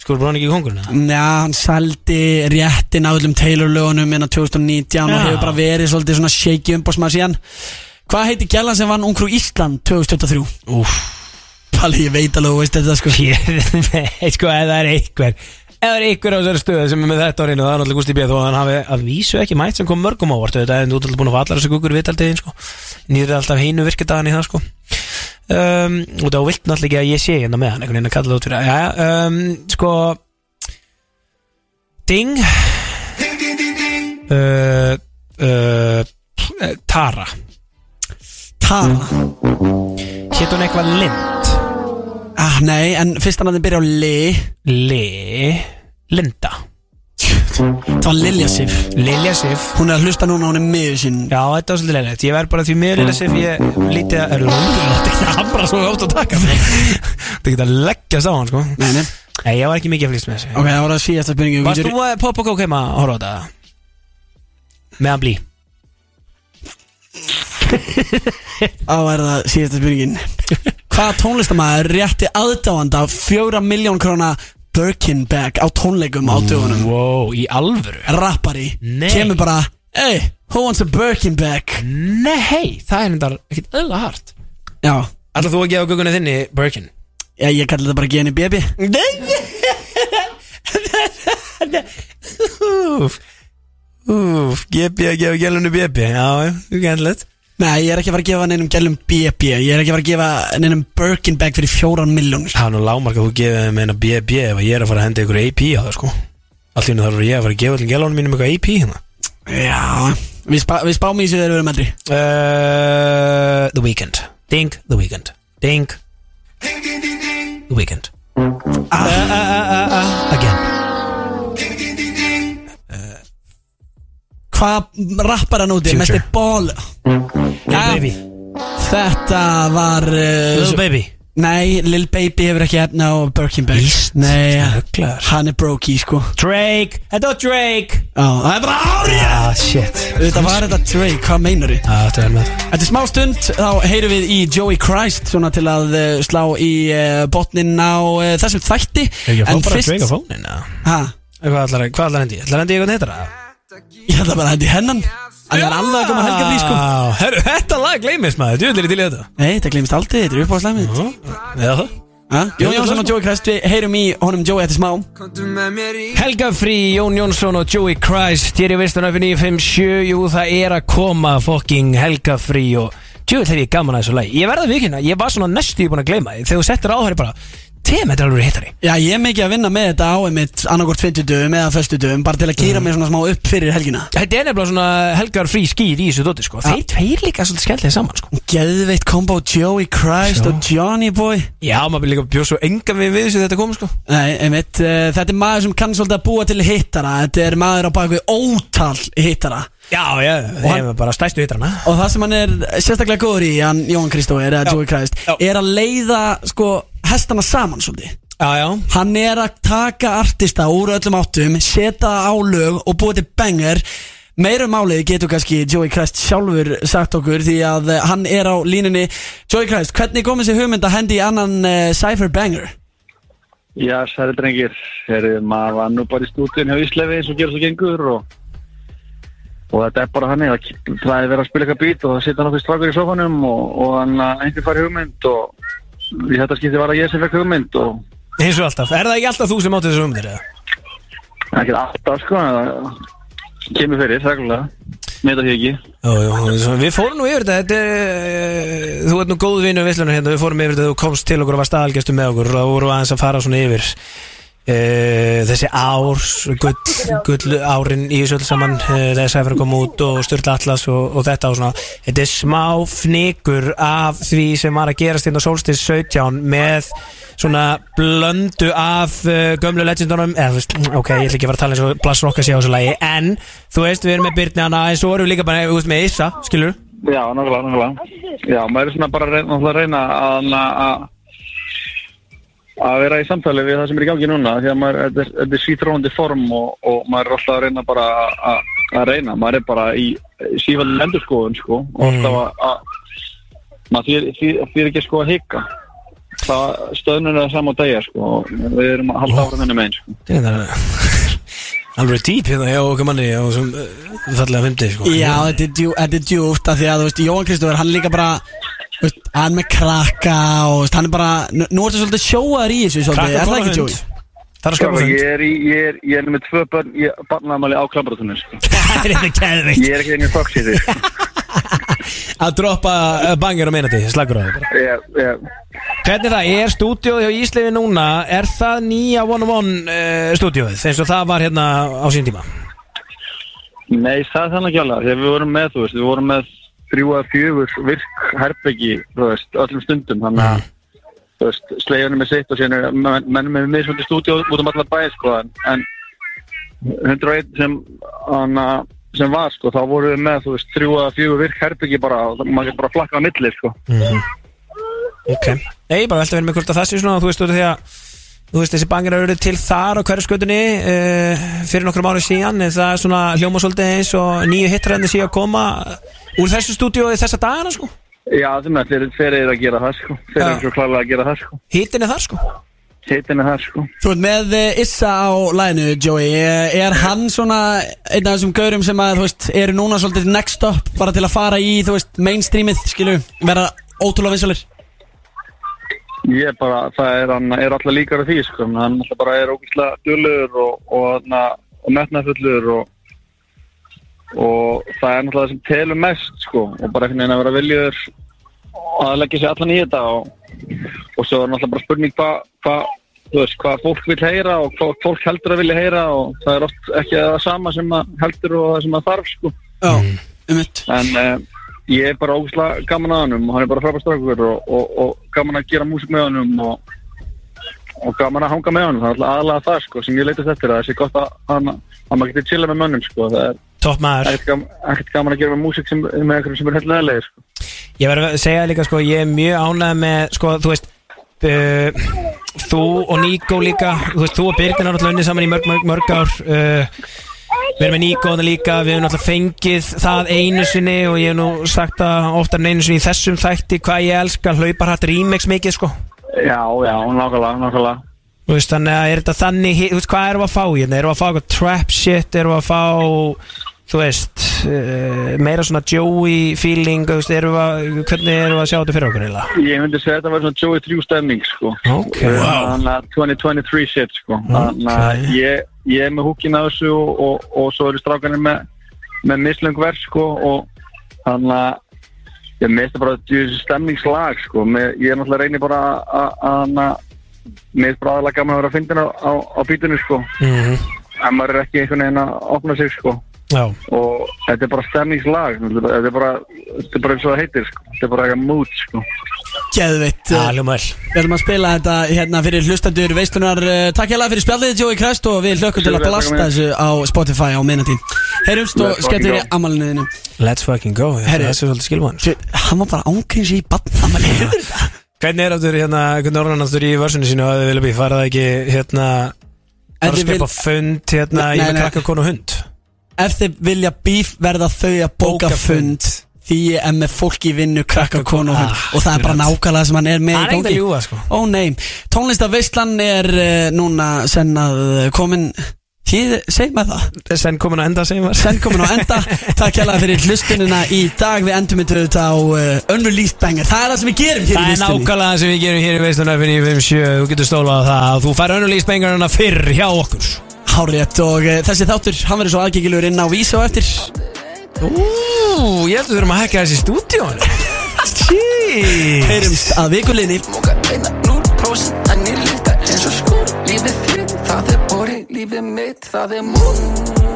B: Skur Brón ekki kongurinn það?
D: Já, hann saldi réttin á öllum Taylor-lögunum innan 2019 og
B: Já.
D: hefur bara verið svolítið svona shaky umbásmaður síðan Hvað heiti gælan sem vann Ungrú Ísland 2023?
B: Úff
D: Palli, ég veit alveg, þú veist þetta sko
B: Ég, nei, sko, ef það er einhver Ef það er einhver á þessari stöðu sem er með þetta á reynu Það er náttúrulega Gusti B. Þó að hann hafi að vísu ekki mætt sem kom mörgum ávart Þetta er náttúrulega búin að fá allar þessu gugur vitaldiðin sko. Nýður alltaf hínu virkidagan í það sko. um, Og þá vilt náttúrulega ekki að ég sé hérna með hann Einhvern veginn að kalla það út fyrir Jæja, um, sko Ding
M: Ding, ding, ding, ding.
B: uh, uh, Tara
D: Tara
B: Hétt hún eitthvað Lind?
D: Ah, nei, en fyrsta nafnið byrja á E. Li
B: Li Linda
D: Það var Lilja Sif
B: Lilja Sif
D: Hún er að hlusta núna, hún er miður sín
B: Já, þetta var svolítið leiðilegt Ég verð bara því miður Lilja Sif Ég lítið að Eru hún Þetta er ekki að hamra svo oft að taka Þetta er ekki að leggjast á hann sko
D: Nei, nei
B: Nei, ég var ekki mikið að flýst með þessu
D: Ok, það var það síðasta spurningu Við
B: Varst
D: getur-
B: þú að poppa kók heima að horfa á þetta? Meðan blí
D: Á er það síðasta spurningin Hvaða tónlistamæður rétti aðdáanda fjóra miljón krona Birkinbag á tónleikum á dögunum?
B: Wow, í alvöru
D: Rappari
B: Nei.
D: Kemur bara Hey, who wants a Birkinbag?
B: Nei, það er hendar ekkert öðla hart
D: Já,
B: Ætlar þú að gefa gugunni þinni Birkin?
D: já ég kalli þetta bara GNBB
B: Úf Úf, GB að gefa gælunni BB Já, gæðilegt
D: Nei, ég er ekki að fara að gefa neinum gælum BB Ég er ekki að fara að gefa neinum Birkinbag fyrir fjóran miljónir
B: Það er nú lágmark að þú gefið þeim eina BB ef að ég er að fara að henda ykkur AP á það sko Allt í henni þarf ég að fara að gefa allir gælunum mínum eitthvað AP hérna
D: Já, við, spá, við spáum í þessu þegar við erum eldri
B: uh, The Weeknd Ding, The Weeknd Ding The Weeknd ah. uh, uh, uh, uh, uh. Again
D: Hvað rappar hann úti?
B: Future.
D: Mest er ball
B: Lil
D: Já.
B: Baby
D: Þetta var uh,
B: Lil
D: svo-
B: Baby
D: Nei, Lil Baby hefur ekki efna á Birkinbag
B: Víst,
D: Nei,
B: rugglaður.
D: hann er brokey sko
B: Drake Þetta var Drake
D: Já, það er bara árið
B: Ah, shit
D: Þetta var þetta Drake, hvað meinar þið?
B: Ah, Þetta er með það
D: Þetta er smá stund, þá heyrum við í Joey Christ Svona til að uh, slá í uh, botnin á uh, þessum þætti
B: Ég
D: En
B: fór bara að
D: fyrst-
B: Drake á fónin eða?
D: Ha,
B: Hvað ætlar hvað ætlar hendi? ég? Ætlar hendi ég eitthvað neittara?
D: ég ætla bara að þetta er hennan Hann er alveg
B: um
D: að koma að helga því sko
B: Ah. Herru, þetta lag gleymis maður, djúðlir í til í þetta
D: Nei, þetta glemist aldrei, þetta er upp á slæmið
B: Já, eða það
D: Jón Jónsson og Joey Christ, við heyrum í honum Joey eftir smá
B: Helga Frí, Jón Jónsson og Joey Christ Hér í Vistan öfni 957 Jú, það er að koma fokking Helga Frí og djúðlir þegar ég gaman að þessu lagi Ég verða vikina, ég var svona næstu ég búin að gleyma því. Þegar þú settir á það er ég bara Tem, þetta er alveg hittari
D: Já, ég er mikið að vinna með þetta á einmitt annarkort 50 dögum eða 40 dögum bara til að gera mig svona smá upp fyrir helgina
B: Þetta er nefnilega svona Helgar Frí skýr í þessu dóti sko Þeir tveir líka svolítið skemmtilega saman sko
D: Geðveitt kombo Joey Christ
B: Já.
D: og Johnny Boy
B: Já, maður líka bjóð svo engan við við þessu þetta kom sko
D: Nei, einmitt, uh, þetta er maður sem kann svolítið að búa til hittara Þetta er maður á bakvið ótal hittara
B: Já, já, þeir eru bara stæstu hittarna
D: Og það sem hann er sérstaklega góður í, hann Jóhann Kristói, eða
B: Já.
D: Joey Christ
B: Já.
D: Er að leiða, sko, hestana saman svolítið
B: Já, já
D: Hann er að taka artista úr öllum áttum, setja það á lög og búa til banger Meirum málið getur kannski Joey Christ sjálfur sagt okkur því að eh, hann er á línunni Joey Christ, hvernig komið sér hugmynd að hendi í annan uh, Cypher banger?
P: Já, særi drengir, Heru, maður var nú bara í stúdíun hjá Íslefi eins og gerur svo gengur og, og þetta er bara þannig, það það er verið að spila eitthvað bít og það sitja nokkuð strákur í sofanum og, og hann að einhver fari hugmynd og í þetta skipti var það ég sem fekk hugmynd og
B: Eins og alltaf, er það ekki alltaf þú sem átti þessu umhverfið eða?
P: það er ekki alltaf sko, en það kemur fyrir, reglulega, með það ekki.
B: Jú, jú, svo Við fórum nú yfir þetta, þetta er, eh, þú ert nú góð vinnu vislunar hérna, við fórum yfir þetta, þú komst til okkur og var staðalgjastu með okkur og það voru aðeins að fara svona yfir e, þessi árs, gull, gull árin í þessu öll saman, e, þess að fyrir að koma út og styrla allas og, og þetta og svona, þetta er smá fnikur af því sem var að gerast hérna á Solstis 17 með svona blöndu af uh, gömlu legendunum, eða þú veist, ok, ég ætla ekki að fara að tala eins og Blass Rokka sé á þessu lagi, en þú veist, við erum með Byrni hana, en svo erum við líka bara, þú veist, með Issa, skilur
P: Já, nákvæmlega, nákvæmlega. Já, maður er svona bara að reyna, náttúrulega að reyna að, að, að vera í samtali við það sem er í gangi núna því að maður, þetta er, þetta er svítrónandi form og, og maður er alltaf að reyna bara að- að, að reyna, maður er bara í sífaldin endurskoðun sko og alltaf að, að maður fyrir, fyrir, fyrir ekki sko að hika það stöðnun er það sama á degja sko og við erum að halda ára þenni megin sko.
B: Þetta er alveg dýp hérna hjá okkur manni og sem uh, fallega fymdi sko.
D: Já, þetta er, djú, þetta er djúpt af því að, þú veist, Jóhann Kristófur, hann er líka bara þú veist, hann er með krakka og þú veist, hann er bara, nú, nú ertu svolítið sjóar í þessu svolítið,
B: Krakka
D: er það
B: koma
D: ekki
B: hund.
D: Jói?
B: Það er að
P: Sko,
B: skapa
P: ég
B: fund
P: er, í, ég er, ég er með tvö barn, ég, barnamæli á klambratunni sko.
B: Það er þetta
P: ég
B: keðvikt
P: er ekki einu fokks í því sko.
B: Að droppa uh, banger á meinandi, slagur á það bara.
P: ég, ég,
B: Hvernig er það, er stúdíóð hjá Íslefi núna Er það nýja one-on-one uh, stúdíóð eins og það var hérna á sín tíma
P: Nei, það er þannig ekki alveg, þegar við vorum með, þú veist, við vorum með þrjú að fjögur virk herbyggi, þú veist, öllum stundum þannig að, þú veist, slegjanum er sitt og síðan er menn menn með misvöldi stúdíu út um allar bæði, sko, en, en 101 sem hana, sem var, sko, þá vorum við með, þú veist, þrjú að fjögur virk herbyggi bara, og maður getur bara flakkað á milli, sko
B: Ok Nei, ég bara velta verið með hvort að það sé svona Þú veist, þú veist, því að Þú veist, þessi bangir eru til þar á hverjaskötunni uh, fyrir nokkrum árið síðan en það er svona hljóma svolítið eins og nýju hittaræðinni sé að koma úr þessu stúdíói þessa dagana sko
P: Já, þeim er allir fyrir að gera það, sko fyrir
B: Já.
P: svo klálega að gera það, sko
B: Hittin er þar sko
P: Hittin er þar sko
D: Þú ert með eh, Issa á lænu, Joey Eh, Er hann svona einn af þessum gaurum sem að, þú veist, eru núna svolítið next up bara til að fara í, þú veist, mainstreamið, skilu, vera ótrúlega vinsalir?
P: Ég er bara, það er, hann er alltaf líkar af því, sko, en hann alltaf bara er ógæslega dölur og, og, þarna, og metnafullur og, og það er náttúrulega það sem telur mest, sko, og bara einhvern veginn að vera viljöður að leggja sér allan í þetta og, og svo er náttúrulega bara spurning hvað, hva, þú veist, hvað fólk vil heyra og hvað fólk heldur að vilja heyra og það er oft ekki það sama sem að heldur og það sem að þarf, sko.
D: Já, um mitt.
P: En uh, ég er bara ógæslega gaman að honum og hann er bara frábært strákur og, og, og gaman að gera músik með honum og, og gaman að hanga með honum. Það er alltaf aðalega það sko, sem ég leitast eftir að það sé gott að, að, að maður geti chilla með mönnum. Sko. Það er
B: Topp maður
P: ekkert gaman, ekkert gaman að gera með músik sem, með einhverjum sem er held leðilegir. Sko.
B: Ég verður að segja líka sko, ég er mjög ánægð með sko, þú veist uh, þú og Níko líka þú veist, þú og Birgir náttúrulega unni saman í mörg, mörg, mörg ár uh, við erum með Níko þarna líka, við hefum náttúrulega fengið það einu sinni og ég hef nú sagt það oftar en einu sinni í þessum þætti hvað ég elska hlauparhatt remix mikið sko
P: Já, já, nákvæmlega, nákvæmlega.
B: Þú veist, þannig að er þetta þannig hi- Þú veist, hvað erum við að fá hérna? Erum við að fá eitthvað trap shit? Erum við að fá, þú veist uh, meira svona Joey feeling þú veist, erum við að, hvernig erum við að sjá þetta fyrir okkur eiginlega?
P: Ég myndi segja að þetta var svona Joey 3 stemning sko
B: Ok. Wow.
P: Þannig að 2023 shit sko Þannig að ég, ég er með húkin að þessu og, og, og svo eru strákanir með með mislöng verð sko og þannig að ég misti bara þessu stemningslag sko með, ég er náttúrulega reyni bara að- að að- mér er bara aðalega gaman að vera að fyndina á, á bítinu sko
B: Mhm.
P: en maður er ekki einhvern veginn að opna sig sko
B: Já
P: og þetta er bara stemningslag þetta er bara, þetta er bara eins og það heitir sko þetta er bara eitthvað mood sko
D: Geðveitt
B: Já, hljómaður
D: Við ætlum að spila þetta hérna fyrir hlustandur veislunar eh, Takk hérlega fyrir spjallið Jói Krest og við hlökkum til að
B: Takk
D: blasta
B: fyrir.
D: þessu á Spotify á minnatí Heyrumst og
B: Let's
D: skemmt
B: fucking
D: fyrir
B: go.
D: amaliniðinu
B: Let's fucking go, já,
D: Herri.
B: það er svolítið skilvæðan
D: Hann var bara ángriðs í badnamalinu
B: Hvernig er aftur, hérna, hvernig orðan aftur í vörsunu sínu að þið vilja býð, farað ekki, hérna
D: En
B: bara að
D: þið vil-
B: skipa fund, hérna,
D: Nei,
B: ég
D: nei.
B: með krakka konu og hund
D: Ef þið vilja bíf verða þau að bóka
B: Bóka fund.
D: fund Því ég er með fólk í vinnu, krakka, konu og hund
B: Ah,
D: Og það er bara
B: akkurat.
D: nákvæmlega sem hann er með
B: Hann er
D: í
B: ekkert
D: gangi
B: að ljúga, sko.
D: Ó nei, tónlistaveislan er uh, núna senn að eh, komin Þið, segjum að það
B: Senn komin að enda, segjum að
D: Senn komin að enda Takk hérlega fyrir hlustunina í dag Við endum þetta á uh, Unreleased Banger Það er það sem við gerum
B: Það
D: hér í
B: er
D: listunni
B: nákvæmlega það sem við gerum hér í veistunar fyrir 57, þú getur stólað á það að þú fær önnulíst bengarna fyrr hjá okkur
D: Hárétt og uh, þessi þáttur, hann verður svo aðgengilegur inn á Vísi og eftir
B: Ú, ég held að við þurfum að hekka þessi stúdíón Jeez
D: Heyrumst að vikulinni
Q: Núlprósent en ég líka eins og skúr Lífið þitt, það er borið, lífið mitt, það er múr